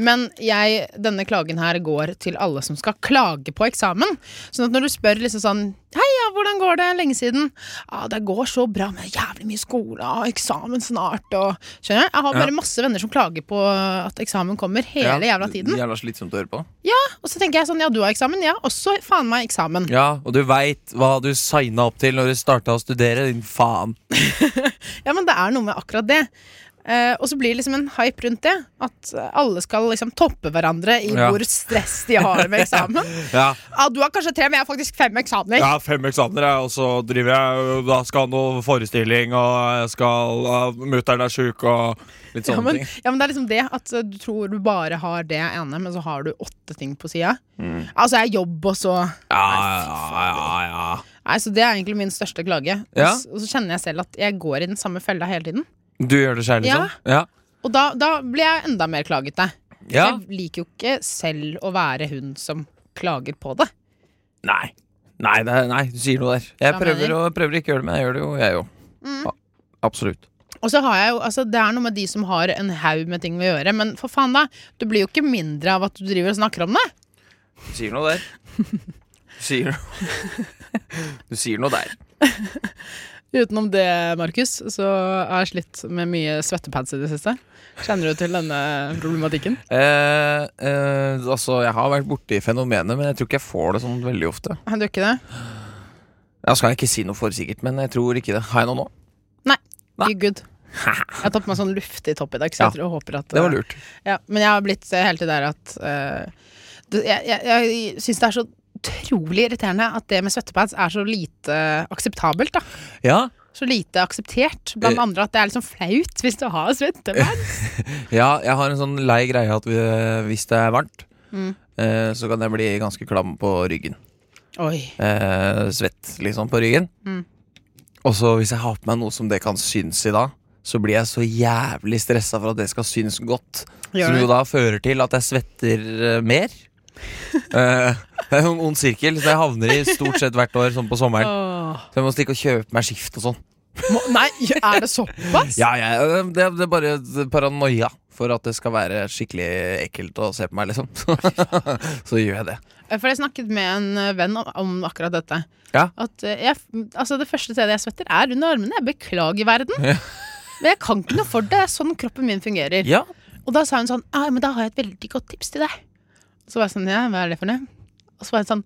S3: Men jeg, denne klagen her går til alle som skal klage på eksamen. Sånn at når du spør liksom sånn Hei, ja, hvordan går det? Lenge siden. Ja, det går så bra med jævlig mye skole og eksamen snart og Skjønner du? Jeg har bare
S2: Ja.
S3: masse venner som klager på at eksamen kommer hele
S2: Ja,
S3: jævla tiden.
S2: Jævla slitsomt å høre på.
S3: Og så tenker jeg sånn Ja, du har eksamen. Jeg har også faen meg eksamen.
S2: Ja, og du veit hva du signa opp til når du starta å studere, din faen.
S3: Ja, men det er noe med akkurat det. Eh, og så blir det liksom en hype rundt det. At eh, alle skal liksom toppe hverandre i
S2: Ja.
S3: hvor stress de har med eksamen.
S2: Ja,
S3: Ja, du har kanskje tre, men jeg har faktisk fem eksamener.
S2: fem eksamener, jeg, og så driver jeg Da skal han noe forestilling, og jeg skal Mutter'n er sjuk, og litt
S3: Ja,
S2: sånne
S3: men,
S2: ting.
S3: ja, men det er liksom det at eh, du tror du bare har det ene, men så har du åtte ting på sida.
S2: Mm.
S3: Altså, jeg jobber, og så
S2: Ja, ja, ja, ja.
S3: Nei, så det er egentlig min største klage. Og
S2: Ja.
S3: s- Og så kjenner jeg selv at jeg går i den samme fella hele tiden.
S2: Du gjør det sjæl, liksom? Ja.
S3: Og da, da blir jeg enda mer klagete.
S2: ja.
S3: Jeg liker jo ikke selv å være hun som klager på det.
S2: Nei. Nei, det er, nei, du sier noe der. Jeg
S3: Hva
S2: prøver,
S3: mener Mm.
S2: å, prøver ikke å gjøre det, men jeg gjør det jo, jeg jo. Ja, absolutt.
S3: Og så har jeg jo, altså Det er noe med de som har en haug med ting å gjøre, men for faen, da. Du blir jo ikke mindre av at du driver og snakker om det.
S2: Du sier noe der. Du sier noe Du sier noe der.
S3: Utenom det, Markus, så har jeg slitt med mye svettepads i det siste. Kjenner du til denne problematikken?
S2: Eh, eh, altså, jeg har vært borti fenomenet, men jeg tror ikke jeg får det sånn veldig ofte.
S3: Har du ikke det?
S2: Jeg skal ikke si noe for sikkert, men jeg tror ikke det. Har jeg noe nå? Nei.
S3: You good. Jeg har tatt på meg sånn luftig topp i dag, så
S2: Ja.
S3: jeg tror jeg håper at eh,
S2: Det var lurt.
S3: Ja, men jeg har blitt eh, helt til der at eh, det, Jeg, jeg, jeg syns det er så utrolig irriterende at det med svettepads er så lite akseptabelt, da.
S2: Ja,
S3: Så lite akseptert blant
S2: Eh.
S3: andre at det er liksom flaut hvis du har svettepads.
S2: ja jeg har en sånn lei greie at vi- hvis det er varmt,
S3: Mm.
S2: eh, så kan jeg bli ganske klam på ryggen.
S3: Oi.
S2: eh, svett liksom på ryggen.
S3: Mm.
S2: Og så hvis jeg har på meg noe som det kan synes i da, så blir jeg så jævlig stressa for at det skal synes godt.
S3: Gjør
S2: som
S3: det.
S2: jo da fører til at jeg svetter eh, mer. Eh, det er jo en ond sirkel, så jeg havner i stort sett hvert år sånn på sommeren.
S3: Åh.
S2: Så jeg må stikke og kjøpe meg skift og sånn.
S3: Må, nei, er det såpass?
S2: Ja, ja, eh, det, det er bare paranoia for at det skal være skikkelig ekkelt å se på meg, liksom. så gjør jeg det.
S3: Eh, For jeg snakket med en eh, venn om, om akkurat dette.
S2: Ja.
S3: At eh, jeg, altså det første stedet jeg svetter, er under armene. Jeg beklager verden. Men jeg kan ikke noe for det. Det er sånn kroppen min fungerer.
S2: Ja,
S3: Og da sa hun sånn Ja, men da har jeg et veldig godt tips til deg. Så var jeg sånn Ja, hva er det for noe? Og så var hun sånn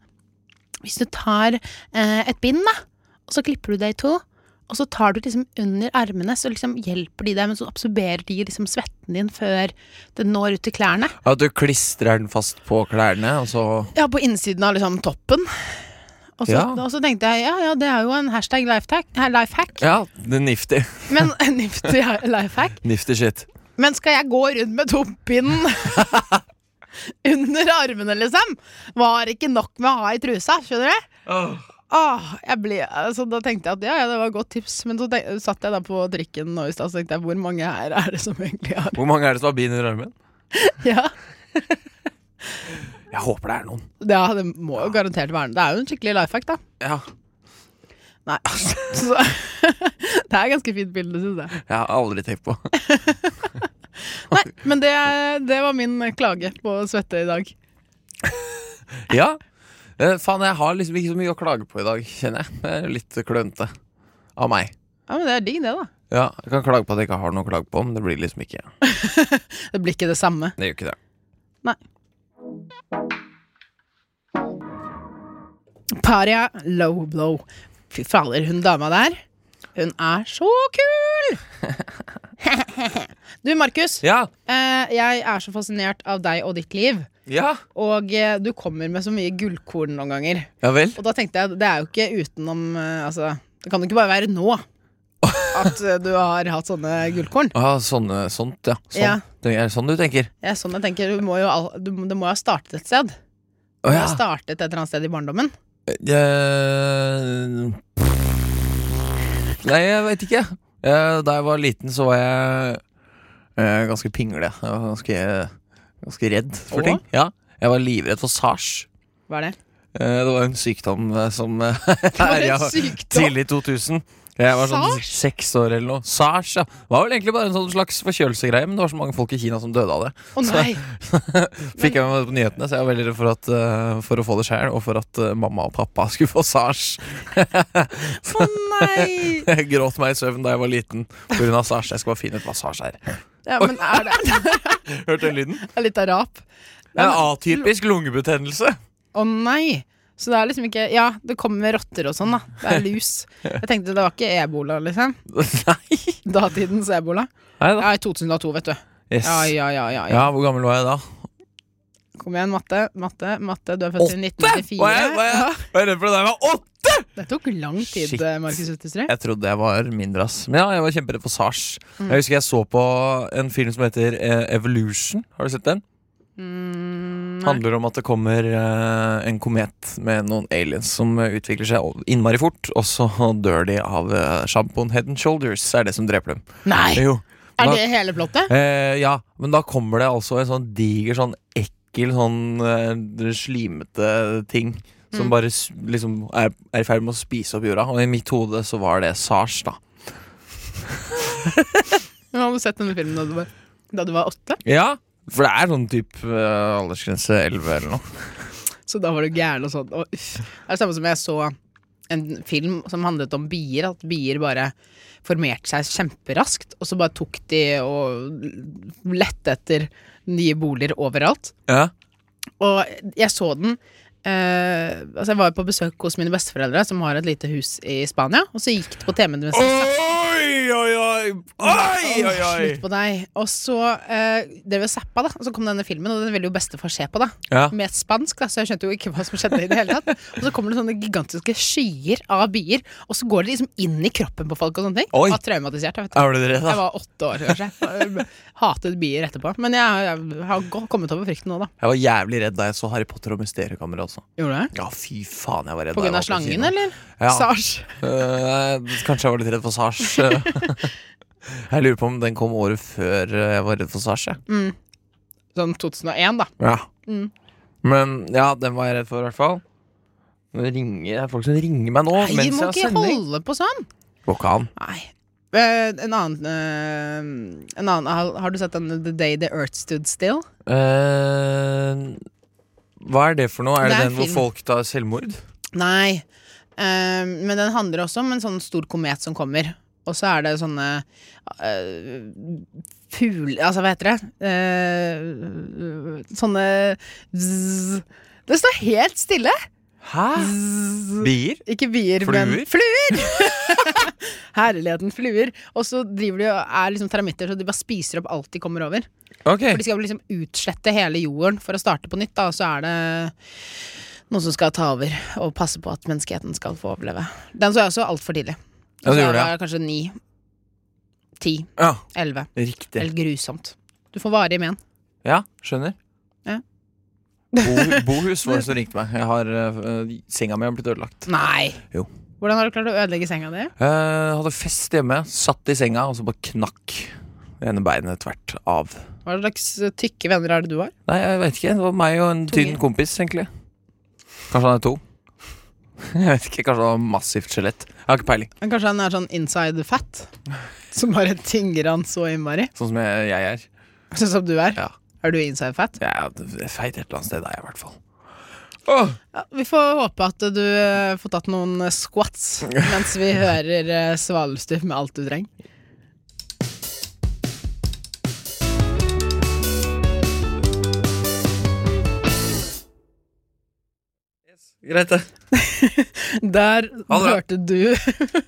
S3: Hvis du tar eh, et bind, da, og så klipper du det i to, og så tar du liksom under armene, så liksom hjelper de deg, men så absorberer de liksom svetten din før den når ut til klærne.
S2: At du klistrer den fast på klærne, og så
S3: Ja, på innsiden av liksom toppen. Og så,
S2: Ja.
S3: og så tenkte jeg ja, ja, det er jo en hashtag lifehack. lifehack.
S2: Ja, det er nifty.
S3: Men nifty lifehack.
S2: Nifty shit.
S3: Men skal jeg gå rundt med topppinnen under armene, liksom? Var ikke nok med å ha i trusa, skjønner du? Åh, jeg ble, altså, da tenkte jeg at ja, ja, det var et godt tips, men så tenk, satt jeg da på trikken nå i stad og tenkte jeg, hvor mange her er det som egentlig har
S2: Hvor mange er det som har bind under armen?
S3: Ja,
S2: Jeg håper det er noen.
S3: ja det må jo garantert være Det er jo en skikkelig life hack, da.
S2: Ja,
S3: Nei. Så, det er et ganske fint bilde, syns jeg.
S2: Jeg har aldri tenkt på.
S3: Nei, men det, det var min klage på svette i dag.
S2: Ja. Eh, faen, jeg har liksom ikke så mye å klage på i dag, kjenner jeg. Det er litt klønete av meg.
S3: Ja, men Det er digg, det, da.
S2: Ja, Jeg kan klage på at jeg ikke har noe å klage på, men det blir liksom ikke
S3: Det blir ikke det samme.
S2: Det gjør ikke det.
S3: Nei. Paria low blow. Fy fader, hun dama der. Hun er så kul! Du, Markus.
S2: Ja!
S3: Eh, jeg er så fascinert av deg og ditt liv.
S2: Ja,
S3: Og eh, du kommer med så mye gullkorn noen ganger.
S2: ja vel.
S3: Og da tenkte jeg, det er jo ikke utenom eh, altså, Det kan jo ikke bare være nå at eh, du har hatt sånne gullkorn.
S2: Ah, sånne, sånt, ja. Sånn.
S3: Ja.
S2: Det er sånn du tenker?
S3: Ja, sånn jeg tenker, du må jo all, du, Det må jo ha startet et sted.
S2: Å
S3: Det
S2: ja.
S3: har startet et eller annet sted i barndommen.
S2: Eh, Nei, jeg veit ikke. Eh, Da jeg var liten, så var jeg eh, ganske pingle. Jeg var ganske, ganske redd for
S3: Åh?
S2: ting. Ja. Jeg var livredd for sars.
S3: Hva er det?
S2: Eh, Det var en sykdom eh, som eh,
S3: var en
S2: herja
S3: sykdom?
S2: tidlig 2000. Jeg var sånn
S3: Sars?
S2: seks år eller noe. Sars, ja. Det var vel egentlig bare en sånn slags forkjølelsegreie, men det var så mange folk i Kina som døde av det.
S3: Å nei!
S2: Fikk jeg med meg på nyhetene, så jeg var veldig redd for, at, eh, for å få det sjøl, og for at eh, mamma og pappa skulle få sars.
S3: Å nei!
S2: Jeg gråt meg i søvn da jeg var liten pga. sars. Jeg skal bare finne ut hva sars er.
S3: Ja, men er det, det
S2: Hørte den lyden?
S3: er litt av rap?
S2: Det er atypisk lungebetennelse.
S3: Å nei! Så det er liksom ikke Ja, det kommer med rotter og sånn, da. Det er lus. Jeg tenkte det var ikke ebola, liksom.
S2: Nei.
S3: Datidens ebola.
S2: Nei da.
S3: Ja, i 2002, vet du.
S2: Yes.
S3: Ja, ja, ja. ja, ja.
S2: Ja, hvor gammel var jeg da?
S3: Kom igjen, matte. Matte, matte, du er født i
S2: Var jeg,
S3: 1994.
S2: var jeg, var jeg redd for det da jeg var åtte?
S3: Det tok lang tid,
S2: Shit.
S3: eh, Markus Utterstrø.
S2: Jeg trodde jeg var mindre, ass. Men ja, jeg var kjemperedd for sars.
S3: Mm.
S2: Jeg husker jeg så på en film som heter eh, Evolution. Har du sett den?
S3: Mm, nei.
S2: Handler om at det kommer eh, en komet med noen aliens som eh, utvikler seg innmari fort, og så dør de av eh, sjampoen Head and Shoulders. Er det som dreper dem.
S3: nei!
S2: Jo.
S3: Er
S2: da-
S3: det hele plottet?
S2: Eh, ja, men da kommer det altså en sånn diger, sånn ekkel, sånn eh, slimete ting. Som
S3: Mm.
S2: bare s- liksom er, er i ferd med å spise opp jorda. Og i mitt hode så var det sars, da.
S3: Du har du sett denne filmen da du var, da du var åtte,
S2: Ja, for det er sånn type eh, aldersgrense 11 eller noe.
S3: så da var du gæren og sånn. Og uff. Det er det samme som jeg så en film som handlet om bier, at bier bare formerte seg kjemperaskt, og så bare tok de og lette etter nye boliger overalt.
S2: Ja,
S3: Og jeg så den eh, Altså jeg var jo på besøk hos mine besteforeldre, som har et lite hus i Spania, og så gikk det på TV-en mens jeg
S2: Oi, oi, oi! Oi, oi, oi!
S3: Slutt på deg. Og så eh, drev vi og zappa, da. Og så kom denne filmen, og den ville jo bestefar se på, da.
S2: Ja.
S3: Med spansk, da, så jeg skjønte jo ikke hva som skjedde i det hele tatt. Og så kommer det sånne gigantiske skyer av bier, og så går det liksom inn i kroppen på folk og sånne ting.
S2: Oi.
S3: Jeg var traumatisert, jeg, vet du.
S2: Er du redd,
S3: Jeg
S2: da?
S3: var åtte år, kanskje. Hatet bier etterpå. Men jeg, jeg har gå- kommet over frykten nå, da.
S2: Jeg var jævlig redd da jeg så Harry Potter og Mysteriekammeret også.
S3: Gjorde du det?
S2: Ja, fy faen, jeg var redd.
S3: På
S2: da jeg
S3: grunn av
S2: var på
S3: slangen,
S2: kino.
S3: eller?
S2: Ja.
S3: Sars.
S2: Eh, kanskje jeg var litt redd for sars. jeg lurer på om den kom året før eh, jeg var redd for sars. jeg.
S3: Sånn 2001, da.
S2: Ja.
S3: Mm.
S2: Men ja, den var jeg redd for, i hvert fall. Det, ringer, det er folk som ringer meg nå
S3: Nei, du
S2: mens jeg
S3: må
S2: har
S3: ikke
S2: sending.
S3: holde på sånn!
S2: Går ikke an.
S3: Nei. Eh, en annen, eh, en annen har, har du sett den The Day The Earth Stood Still?
S2: Eh, hva er det for noe? Er
S3: Det
S2: det,
S3: er
S2: den
S3: film.
S2: hvor folk tar selvmord?
S3: Nei. Eh, men den handler også om en sånn stor komet som kommer. Og så er det sånne uh, fugl... Altså, hva heter det? Eh, sånne zzz. Det står helt stille!
S2: Hæ? Bier?
S3: Ikke bier, men
S2: Fluer?
S3: Fluer! Herligheten, fluer. Og så driver de og er liksom teramitter, så de bare spiser opp alt de kommer over.
S2: Ok.
S3: For de skal liksom utslette hele jorden for å starte på nytt, da, og så er det noen som skal ta over og passe på at menneskeheten skal få overleve. Den så jeg også altfor tidlig.
S2: Ja, det
S3: Altså,
S2: gjorde
S3: jeg
S2: jeg.
S3: var kanskje ni, ti,
S2: Ja,
S3: elleve.
S2: riktig.
S3: Helt grusomt. Du får varig men.
S2: Ja, skjønner.
S3: Ja.
S2: Bo, Bohus var det som ringte meg. Jeg har, eh, senga mi har blitt ødelagt.
S3: Nei!
S2: Jo.
S3: Hvordan har du klart å ødelegge senga di?
S2: Jeg Eh, hadde fest hjemme, satt i senga, og så bare knakk det ene beinet tvert av.
S3: Hva slags tykke venner er det du har?
S2: Nei, jeg vet ikke. Det var meg og en
S3: Tunge.
S2: tynn kompis, egentlig. Kanskje han er to. Jeg vet ikke, Kanskje han har massivt skjelett. Jeg har ikke peiling.
S3: Men Kanskje han er sånn inside fat? Som bare tynger han så innmari?
S2: Sånn som jeg, jeg er.
S3: Sånn som du er?
S2: Ja.
S3: Er du inside fat?
S2: Jeg er feit et eller annet sted, er jeg i hvert fall. Åh,
S3: Ja, vi får håpe at du eh, får tatt noen eh, squats mens vi hører eh, Svalestuf med alt du trenger.
S2: greit, det.
S3: Der
S2: Ha det bra.
S3: hørte du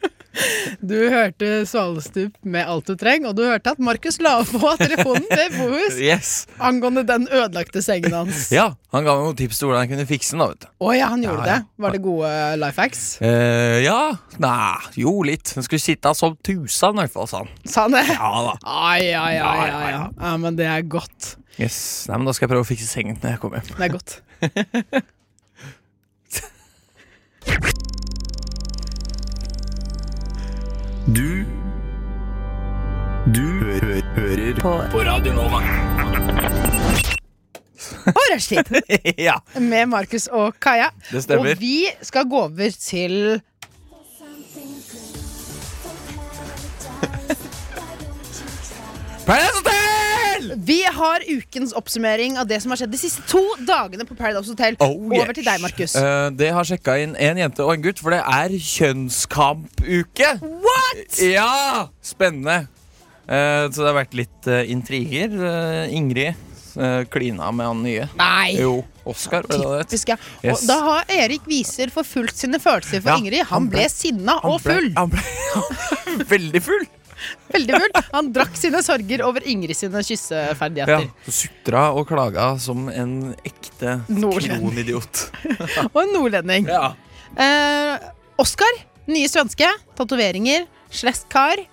S3: Du hørte Svalestup med alt du trenger, og du hørte at Markus la på telefonen til Bohus
S2: Yes.
S3: angående den ødelagte sengen hans. Å ja.
S2: Ja, han ga meg noen tips til hvordan jeg kunne fikse den. da, vet du
S3: han gjorde
S2: Ja, ja.
S3: det. Var det gode life hacks?
S2: Eh, Ja, nei, jo litt. Den skulle sitte som tusen, i hvert fall, sa han.
S3: Sa han det?
S2: Ja da.
S3: Ai, ai, ai,
S2: Ja, ja,
S3: ai, ai. Ja, men det er godt.
S2: Yes, nei, men Da skal jeg prøve å fikse sengen når jeg kommer hjem.
S3: Det er godt.
S10: Du Du hø hø hører på.
S3: Og rushtid
S2: ja,
S3: med Markus og Kaja.
S2: Det stemmer.
S3: Og vi skal gå over til
S2: Paradise Hotel!
S3: Vi har ukens oppsummering av det som har skjedd de siste to dagene på Paradise Hotel.
S2: Oh, yes.
S3: Over til deg, Markus.
S2: Eh, det har sjekka inn en jente og en gutt, for det er kjønnskampuke.
S3: What?!
S2: Ja! Spennende. Eh, så det har vært litt eh, intriger. Eh, Ingrid eh, klina med han nye.
S3: Nei!
S2: Jo, Oskar. var det det het?
S3: Typisk, ja.
S2: Yes.
S3: Og da har Erik Viser forfulgt sine følelser for
S2: Ja,
S3: Ingrid.
S2: han
S3: Han ble
S2: ble-
S3: sinna og full.
S2: Han ble, han ble veldig full.
S3: Veldig full. Han drakk sine sorger over Ingrid sine
S2: Ja,
S3: kysseferdigheter.
S2: Sutra og klaga som en ekte
S3: Nordlending.
S2: klonidiot.
S3: Og en nordlending.
S2: Ja.
S3: Eh, Oskar, nye svenske. Tatoveringer. Slesk kar.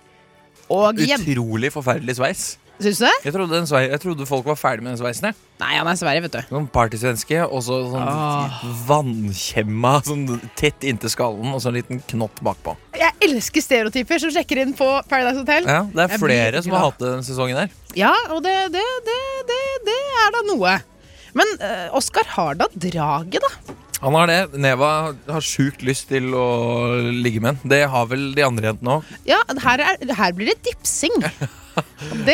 S3: Og jente.
S2: Utrolig forferdelig sveis.
S3: Syns du det?
S2: Jeg trodde, den svei, jeg trodde folk var ferdig med den sveisen. Jeg.
S3: Nei, han er sverre, vet du.
S2: Sånn partysvenske, og så sånn vannkjemma sånn tett inntil skallen, og så en liten knott bakpå.
S3: Jeg elsker stereotyper som sjekker inn på Paradise Hotel.
S2: Ja, det er
S3: Jeg blir
S2: flere som har
S3: glad.
S2: hatt det denne sesongen her.
S3: Ja, og det, det, det, det, det er da noe. Men eh, Oskar har da draget, da.
S2: Han har det. Neva har sjukt lyst til å ligge med en. Det har vel de andre jentene òg.
S3: Ja, her, er, her blir det dipsing. Og Det,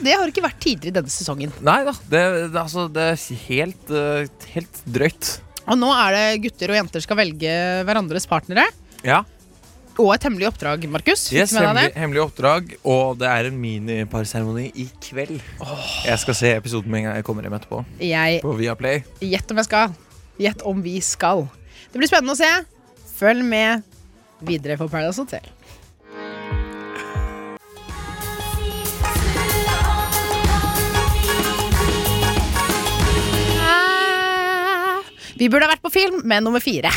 S3: det har ikke vært tidligere denne sesongen.
S2: Nei da. Det, det, altså, det er helt, eh, helt drøyt.
S3: Og nå er det gutter og jenter skal velge hverandres partnere.
S2: Ja.
S3: Og et hemmelig oppdrag, Markus. Fikk
S2: Yes,
S3: du med
S2: hemmelig,
S3: deg det?
S2: hemmelig oppdrag, og det er en miniparseremoni i kveld. Jeg skal se episoden med en gang jeg kommer hjem etterpå.
S3: Jeg
S2: På Viaplay.
S3: Gjett om jeg skal. Gjett om vi skal. Det blir spennende å se. Følg med videre på Paradise Hotel. Ah, Vi burde ha vært på film med nummer fire.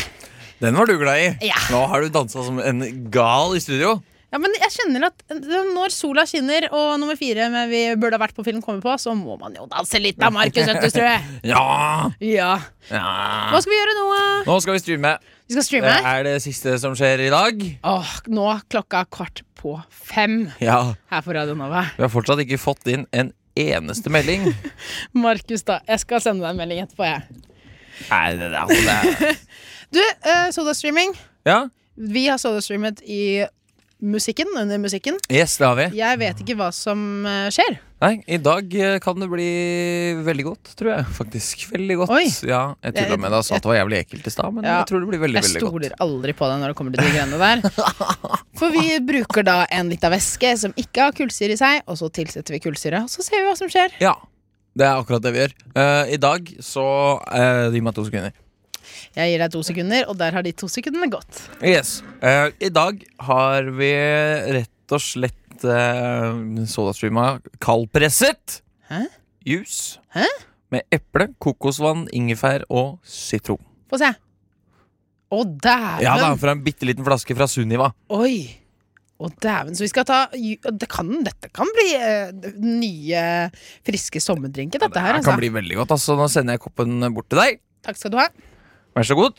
S2: Den var du glad i.
S3: Ja.
S2: Nå har du dansa som en gal i studio.
S3: Ja, men jeg kjenner at eh, Når sola skinner og nummer fire med vi burde ha vært på film kommer på, så må man jo danse litt da, Markus Øtterstrø.
S2: Ja!
S3: Ja. Hva skal vi gjøre nå? eh?
S2: Nå skal vi streame.
S3: Vi skal
S2: Det
S3: streame.
S2: er det siste som skjer i dag.
S3: Åh, nå klokka kvart på fem
S2: Ja,
S3: her på Radio Nova.
S2: Vi har fortsatt ikke fått inn en eneste melding.
S3: Markus, da. Jeg skal sende deg en melding etterpå, jeg.
S2: Nei, det, det, altså, det er
S3: Du, uh, sodastreaming.
S2: Ja,
S3: Vi har sodastreamet i musikken, under musikken.
S2: yes, det har vi.
S3: Jeg vet ikke hva som eh, skjer.
S2: Nei, I dag eh, kan det bli veldig godt, tror jeg. Faktisk. Veldig godt.
S3: Oi.
S2: Ja, Jeg tulla
S3: Jeg-
S2: med deg og sa at det var jævlig ekkelt i stad, men
S3: Ja,
S2: jeg tror det blir veldig,
S3: Jeg
S2: veldig godt.
S3: stoler aldri på deg når det kommer til de greiene der. For vi bruker da en lita væske som ikke har kullsyre i seg, og så tilsetter vi kullsyre, og så ser vi hva som skjer.
S2: Ja, det er akkurat det vi gjør. Eh, I dag så eh, Gi meg to sekunder.
S3: Jeg gir deg to sekunder, og der har de to sekundene gått.
S2: Yes. Eh, I dag har vi rett og slett uh, sodastreama kaldpresset
S3: Hæ?
S2: juice
S3: Hæ?
S2: med eple, kokosvann, ingefær og sitron.
S3: Få se. Å,
S2: Ja, det
S3: dæven!
S2: er fra en bitte liten flaske fra Sunniva.
S3: Oi! Å, dæven. Så vi skal ta ju- det kan, Dette kan bli eh, nye, friske sommerdrinker, dette her.
S2: Det
S3: Altså.
S2: kan bli veldig godt. Altså, nå sender jeg koppen bort til deg.
S3: Takk skal du ha.
S2: Vær så god.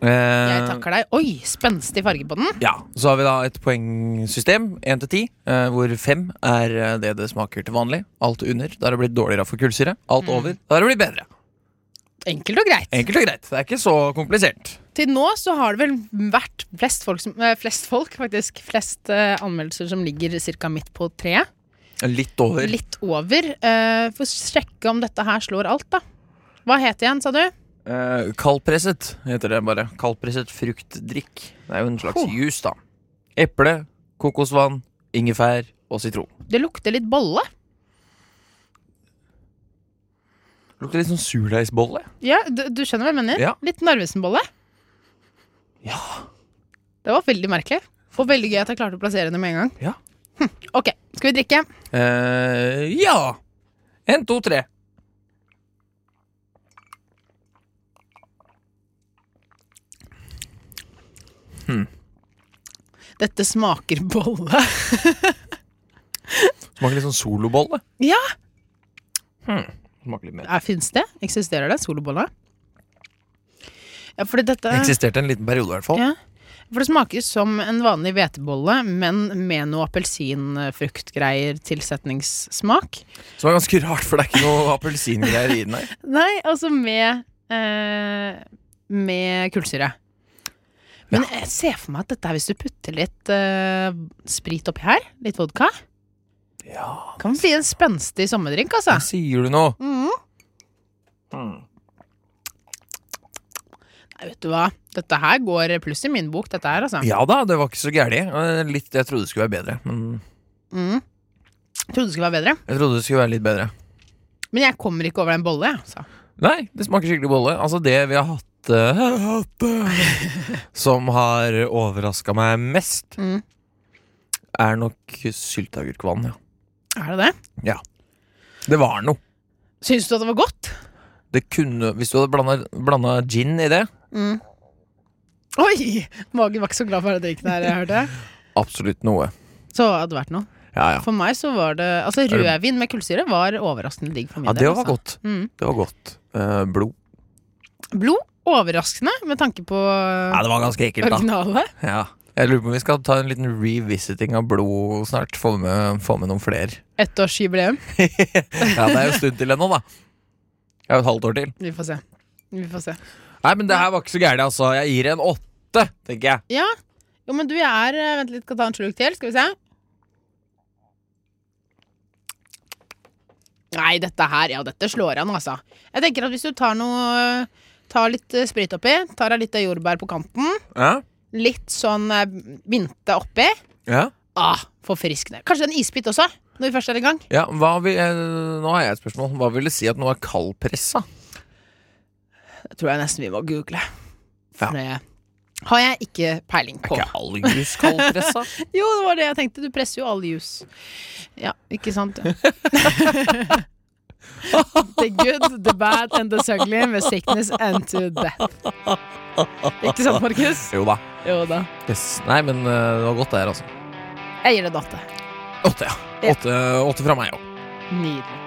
S3: Jeg
S2: Eh,
S3: takker deg. Oi, spenstig farge på den.
S2: ja, Så har vi da et poengsystem, én til ti, eh, hvor fem er eh, det det smaker til vanlig. Alt under, da har det blitt dårligere for kullsyre.
S3: Mm.
S2: Alt over, da har det blitt bedre.
S3: Enkelt og greit.
S2: Enkelt og greit. Det er ikke så komplisert.
S3: Til nå så har det vel vært flest folk, som, eh, flest folk faktisk. Flest eh, anmeldelser som ligger ca. midt på treet.
S2: Litt over.
S3: Litt over. Eh, Få sjekke om dette her slår alt, da. Hva het det igjen, sa du?
S2: Eh, kaldpresset heter det bare. Kaldpresset fruktdrikk. Det er jo en slags
S3: Huh.
S2: juice, da. Eple, kokosvann, ingefær og sitron.
S3: Det lukter litt bolle.
S2: Lukter litt sånn surdeigsbolle.
S3: Ja, du, du skjønner hva jeg mener?
S2: Ja.
S3: Litt Narvesen-bolle.
S2: Ja.
S3: Det var veldig merkelig. Og veldig gøy at jeg klarte å plassere det med en gang.
S2: Ja.
S3: Hm. Ok, skal vi drikke?
S2: Eh, ja. En, to, tre.
S3: Dette smaker bolle.
S2: Smaker litt sånn solobolle.
S3: ja,
S2: Smaker litt mer.
S3: er, finnes det? Eksisterer det? Solobolle? Ja, fordi dette
S2: Det eksisterte en liten periode, i hvert fall.
S3: ja. For det smaker som en vanlig hvetebolle, men med noe appelsinfruktgreier, tilsetningssmak.
S2: Som er ganske rart, for det er ikke noe appelsingreier i den her.
S3: Nei, altså med eh, Med kullsyre. Men jeg ser for meg at dette er hvis du putter litt eh, sprit oppi her, litt vodka.
S2: Ja,
S3: Kan bli en spenstig sommerdrink, altså.
S2: hva sier du nå?
S3: Mhm.
S2: Mm.
S3: Nei, vet du hva. Dette her går pluss i min bok, dette her, altså.
S2: Ja da, det var ikke så gærlig. Eh, Litt, jeg trodde det skulle være bedre, men
S3: Mm. Trodde det skulle være bedre.
S2: jeg trodde det skulle være litt bedre.
S3: Men jeg kommer ikke over den bolle, jeg. Altså.
S2: Nei, det smaker skikkelig bolle. Altså det vi har hatt, eh, hatt eh, Som har overraska meg mest,
S3: Mm.
S2: er nok sylteagurkvann, ja.
S3: Er det det?
S2: Det var noe.
S3: Syns du at det var godt?
S2: Det kunne, hvis du hadde blanda gin i det
S3: Mm. Oi! Magen var ikke så glad for den drinken her, jeg hørte.
S2: Absolutt noe.
S3: Så hadde det vært noe.
S2: Ja, ja.
S3: For meg så var det Altså,
S2: det-
S3: rødvin med kullsyre var overraskende digg for min
S2: ja det
S3: del.
S2: var
S3: altså.
S2: godt.
S3: Mm.
S2: Det var godt. Eh, blod.
S3: Blod overraskende med tanke på
S2: Ja, det var ganske ekkelt, da.
S3: originalet.
S2: Ja. Jeg lurer på om vi skal ta en liten revisiting av blod snart. Få med, få med noen flere.
S3: Ettårsjubileum.
S2: Ja, det er jo en stund til ennå, da. Det er jo et halvt år til.
S3: Vi får se. Vi får se.
S2: Nei, men det her var ikke så gærent, altså. Jeg gir det en åtte, tenker jeg.
S3: Ja. Jo, men du, jeg er eh, Vent litt, skal ta en slurk til. Skal vi se. Nei, dette her Ja, dette slår an, altså. Jeg tenker at hvis du tar noe Tar litt eh, sprit oppi, tar deg litt av jordbær på kanten,
S2: Ja?
S3: litt sånn eh, mynte oppi
S2: Ja?
S3: Ah, forfriskende. Kanskje en isbit også, når vi først er i gang.
S2: Ja, hva vil, eh, Nå har jeg et spørsmål. Hva vil det si at noe er kaldpressa?
S3: Det tror jeg nesten vi må google.
S2: Ja.
S3: For det har jeg ikke peiling på.
S2: Er ikke all jus kaldpressa?
S3: Jo, det var det jeg tenkte. Du presser jo all jus. Ja, ikke sant? the good, the bad and the ugly med sickness and to death. Ikke sant, Markus?
S2: jo da.
S3: Jo da.
S2: Yes. Nei, men eh, det var godt, det her, altså.
S3: Jeg gir det en åtte.
S2: Åtte, ja.
S3: Ja.
S2: Åtte, eh, åtte fra meg òg.
S3: Nydelig.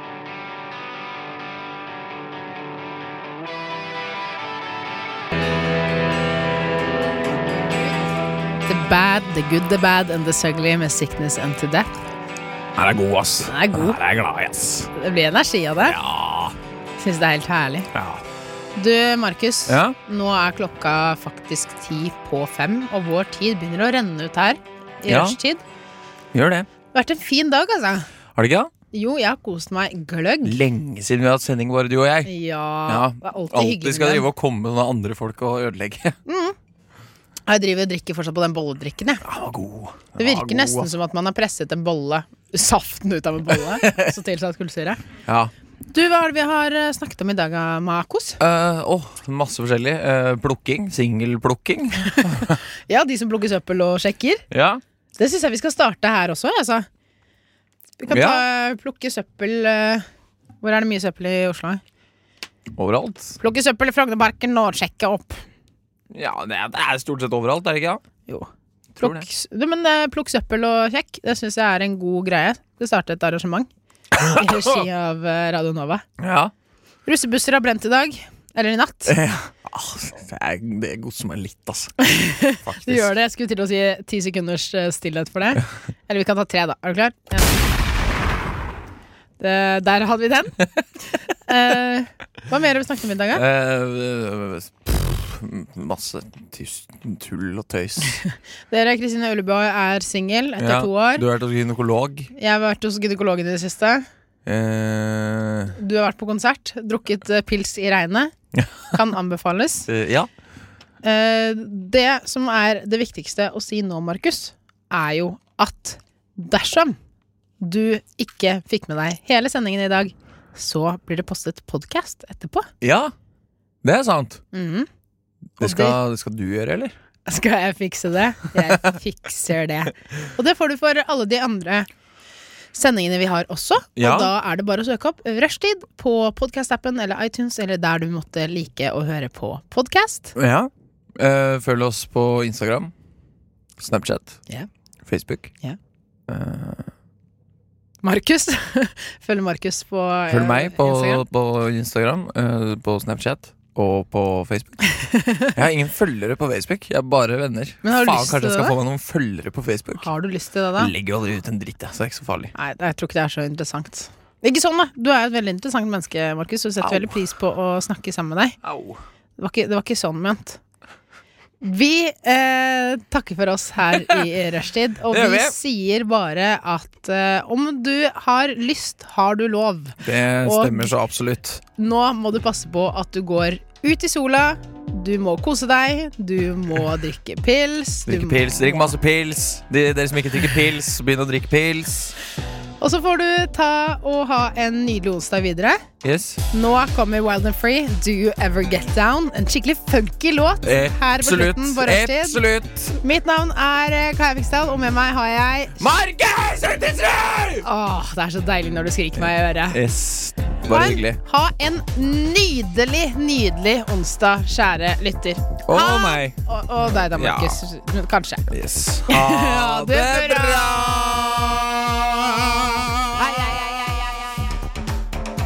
S3: The bad, the good, the bad and the ugly med sickness and to death.
S2: Den er god, ass.
S3: Den er god.
S2: Den er jeg glad i, ass.
S3: Det blir energi av det.
S2: Ja.
S3: Syns det er helt herlig.
S2: ja.
S3: Du, Markus.
S2: Ja?
S3: Nå er klokka faktisk ti på fem, og vår tid begynner å renne ut her. I
S2: Ja.
S3: rushtid.
S2: Gjør det.
S3: Det har vært en fin dag, altså.
S2: Har det ikke? det?
S3: Jo, jeg har kost meg gløgg.
S2: Lenge siden vi har hatt sending, bare du og jeg.
S3: Ja.
S2: Ja,
S3: Det er alltid
S2: Alltid
S3: hyggelig.
S2: skal
S3: med
S2: drive og komme med sånne andre folk og ødelegge.
S3: den. Jeg driver og drikker fortsatt på den bolledrikken, jeg.
S2: Den var god.
S3: Det virker nesten som at man har presset en bolle, saften ut av en bolle, så tilsatt kullsyre.
S2: Ja.
S3: Du, hva er det vi har eh, snakket om i dag, eh, Makos?
S2: Eh, åh, masse forskjellig. Eh, plukking. Singelplukking.
S3: Ja, de som plukker søppel og sjekker.
S2: Ja.
S3: Det syns jeg vi skal starte her også, altså. Vi kan
S2: Ja.
S3: ta, plukke søppel eh, Hvor er det mye søppel i Oslo?
S2: Overalt.
S3: Plukke søppel i Frognerparken og sjekke opp.
S2: Ja, det er, det er stort sett overalt, er det ikke?
S3: Jo.
S2: Tror
S3: Plukk, det. Men eh, plukk søppel og kjekk, det syns jeg er en god greie. Skal starte et arrangement i regi av eh, Radio Nova.
S2: Ja.
S3: Russebusser har brent i dag. Eller i natt.
S2: Ah, det er, det er godser meg litt, altså. Faktisk.
S3: Du gjør det. Jeg skulle til å si ti sekunders eh, stillhet for det. Eller vi kan ta tre, da. Er du klar? Ja. Det, der hadde vi den. Eh, hva mer har vi snakket om i dag? da?
S2: Eh, pff, masse tus- tull og tøys.
S3: Dere, Kristine Ullebø er singel etter
S2: Ja,
S3: to år.
S2: Du har vært hos gynekolog.
S3: Jeg har vært hos gynekologen i det siste.
S2: Eh,
S3: Du har vært på konsert. Drukket eh, pils i regnet. Kan anbefales.
S2: eh, ja.
S3: Eh, det som er det viktigste å si nå, Markus, er jo at dersom du ikke fikk med deg hele sendingen i dag, så blir det postet podkast etterpå.
S2: ja. Det er sant.
S3: Mhm.
S2: Det skal, Mm. det skal du gjøre, eller?
S3: Skal jeg fikse det? Jeg fikser det. Og det får du for alle de andre sendingene vi har også.
S2: Ja.
S3: Og da er det bare å søke opp Rushtid på podkast-appen eller iTunes eller der du måtte like å høre på podkast.
S2: Ja. Eh, følg oss på Instagram, Snapchat,
S3: Ja.
S2: Facebook.
S3: Ja.
S2: Eh,
S3: Markus. Følg Markus på eh,
S2: følg meg på
S3: Instagram.
S2: Instagram, på, Instagram eh, på Snapchat og på Facebook. Jeg har ingen følgere på Facebook, jeg er bare venner.
S3: Men har du lyst
S2: kanskje
S3: til
S2: jeg skal
S3: det?
S2: få meg noen følgere på Facebook?
S3: Har du lyst til det, da?
S2: Jeg Legger jo aldri ut en dritt, jeg, så det er ikke så farlig.
S3: Nei, jeg tror ikke det er så interessant. Ikke sånn, da. Du er et veldig interessant menneske, Markus. Du setter
S2: Au.
S3: veldig pris på å snakke sammen med deg.
S2: Au.
S3: Det var ikke, det var ikke sånn ment. Vi eh, takker for oss her i Rushtid, og
S2: Det gjør
S3: vi
S2: vi.
S3: sier bare at eh, om du har lyst, har du lov.
S2: Det
S3: Og-
S2: stemmer så absolutt.
S3: Nå må du passe på at du går ut i sola. Du må kose deg, du må drikke pils. du
S2: Drikke
S3: må-
S2: pils, drikk masse pils. De, dere som ikke drikker pils, begynn å drikke pils.
S3: Og så får du ta og ha en nydelig onsdag videre.
S2: Yes.
S3: Nå kommer Wild and Free, Do You Ever Get Down? En skikkelig funky låt her på
S2: Absolutt.
S3: slutten på rushtid.
S2: Absolutt.
S3: Mitt navn er eh, Kaja Vikstad, og med meg har jeg
S2: Markus Utisrud!
S3: Åh, det er så deilig når du skriker meg i øret.
S2: Yes. Bare
S3: Ha en-
S2: hyggelig.
S3: Ha en nydelig, nydelig onsdag, kjære lytter.
S2: Å
S3: Ha-
S2: nei.
S3: Og, og deg da,
S2: Ja.
S3: Markus. Kanskje.
S2: Yes.
S3: Ja,
S2: Ha
S3: det
S2: det
S3: er bra.
S2: bra!
S3: Ai, ai, ai, ai, ai, ai.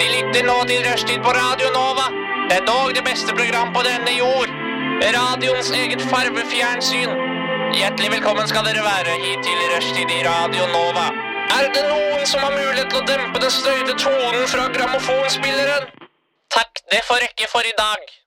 S9: De lytter nå til Rushtid på Radio Nova. Det er dog det beste program på denne jord. Radioens eget farvefjernsyn. Hjertelig velkommen skal dere være hit til Rushtid i Radio Nova. Er det noen som har mulighet til å dempe den støyte tonen fra grammofonspilleren? Takk, det får rekke for i dag.